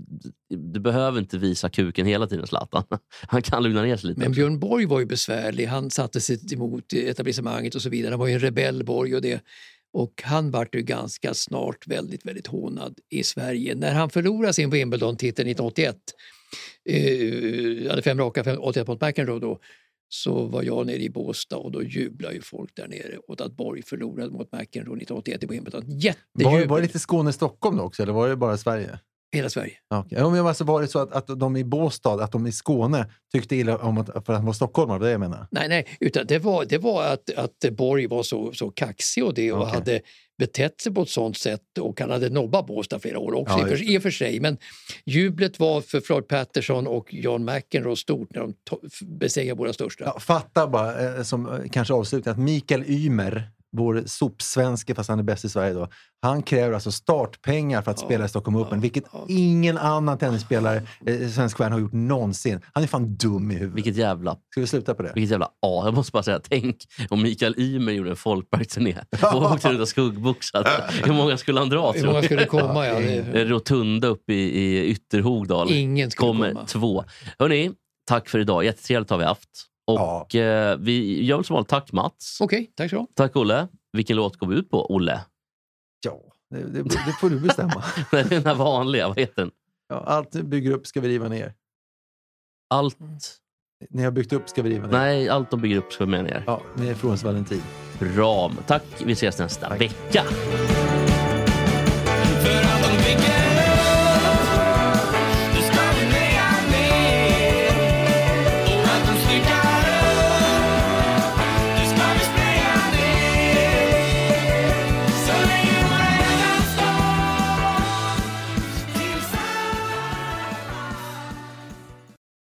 du, du behöver inte visa kuken hela tiden, Zlatan. Han kan lugna ner sig lite.
Men Björn Borg var ju besvärlig. Han satte sig emot etablissemanget och så vidare. Han var ju en rebell, Borg. Och, det. och han vart ju ganska snart väldigt, väldigt hånad i Sverige. När han förlorade sin Wimbledon-titel 1981, eh, hade fem raka, fem, 81 mot McEnroe då, så var jag nere i Båstad och då jublade ju folk där nere åt att Borg förlorade mot McEnroe 1981 i Wimbledon.
Var, det-
Jättejubel!
var det lite Skåne-Stockholm då också, eller var det bara Sverige?
Hela Sverige.
Ja, okej. Ja, men alltså, var det så att, att de i Båstad, att de i Skåne, tyckte illa om att, för att han var stockholmare? Det är det jag menar.
Nej, nej, utan det var, det var att, att Borg var så, så kaxig och det och
Okej.
hade betett sig på ett sånt sätt och han hade nobbat Båstad flera år också
Ja,
i, och för,
just
i och för sig. Men jublet var för Floyd Patterson och John McEnroe stort när de to- f- besegrade våra största.
Ja, fatta bara, eh, som eh, kanske avslutning, att Mikael Ymer, vår sopsvenske, fast han är bäst i Sverige då, han kräver alltså startpengar för att spela i Stockholm Open, vilket ingen annan tennisspelare, eh, svensk stjärna, har gjort någonsin. Han är fan dum i huvudet.
Vilket jävla
Ska vi sluta på det?
vilket jävla A. Jag måste bara säga, tänk om Mikael Ymer gjorde en folkparksturné och åkte runt och skuggboxat. Hur många skulle han dra?
Hur
tror
många
du?
skulle komma? Ja, det,
Eh, Rotunda uppe i, i Ytterhogdal.
ingen skulle
kommer
komma.
två. Hörni, tack för idag. Jättetrevligt har vi haft. Och eh, vi gör väl som vanligt. Tack Mats.
Okej, tack så du ha.
Tack Olle. Vilken låt går vi ut på, Olle?
Ja, det, det, det får du bestämma.
Nej, Den här vanliga, vad heter den?
Ja, allt du bygger upp ska vi riva ner.
Allt...
Mm.
Ni har byggt upp ska vi riva ner.
Nej, allt de bygger upp ska vi med ner.
Ja, ni är från Valentin.
Ram. Tack, vi ses nästa vecka.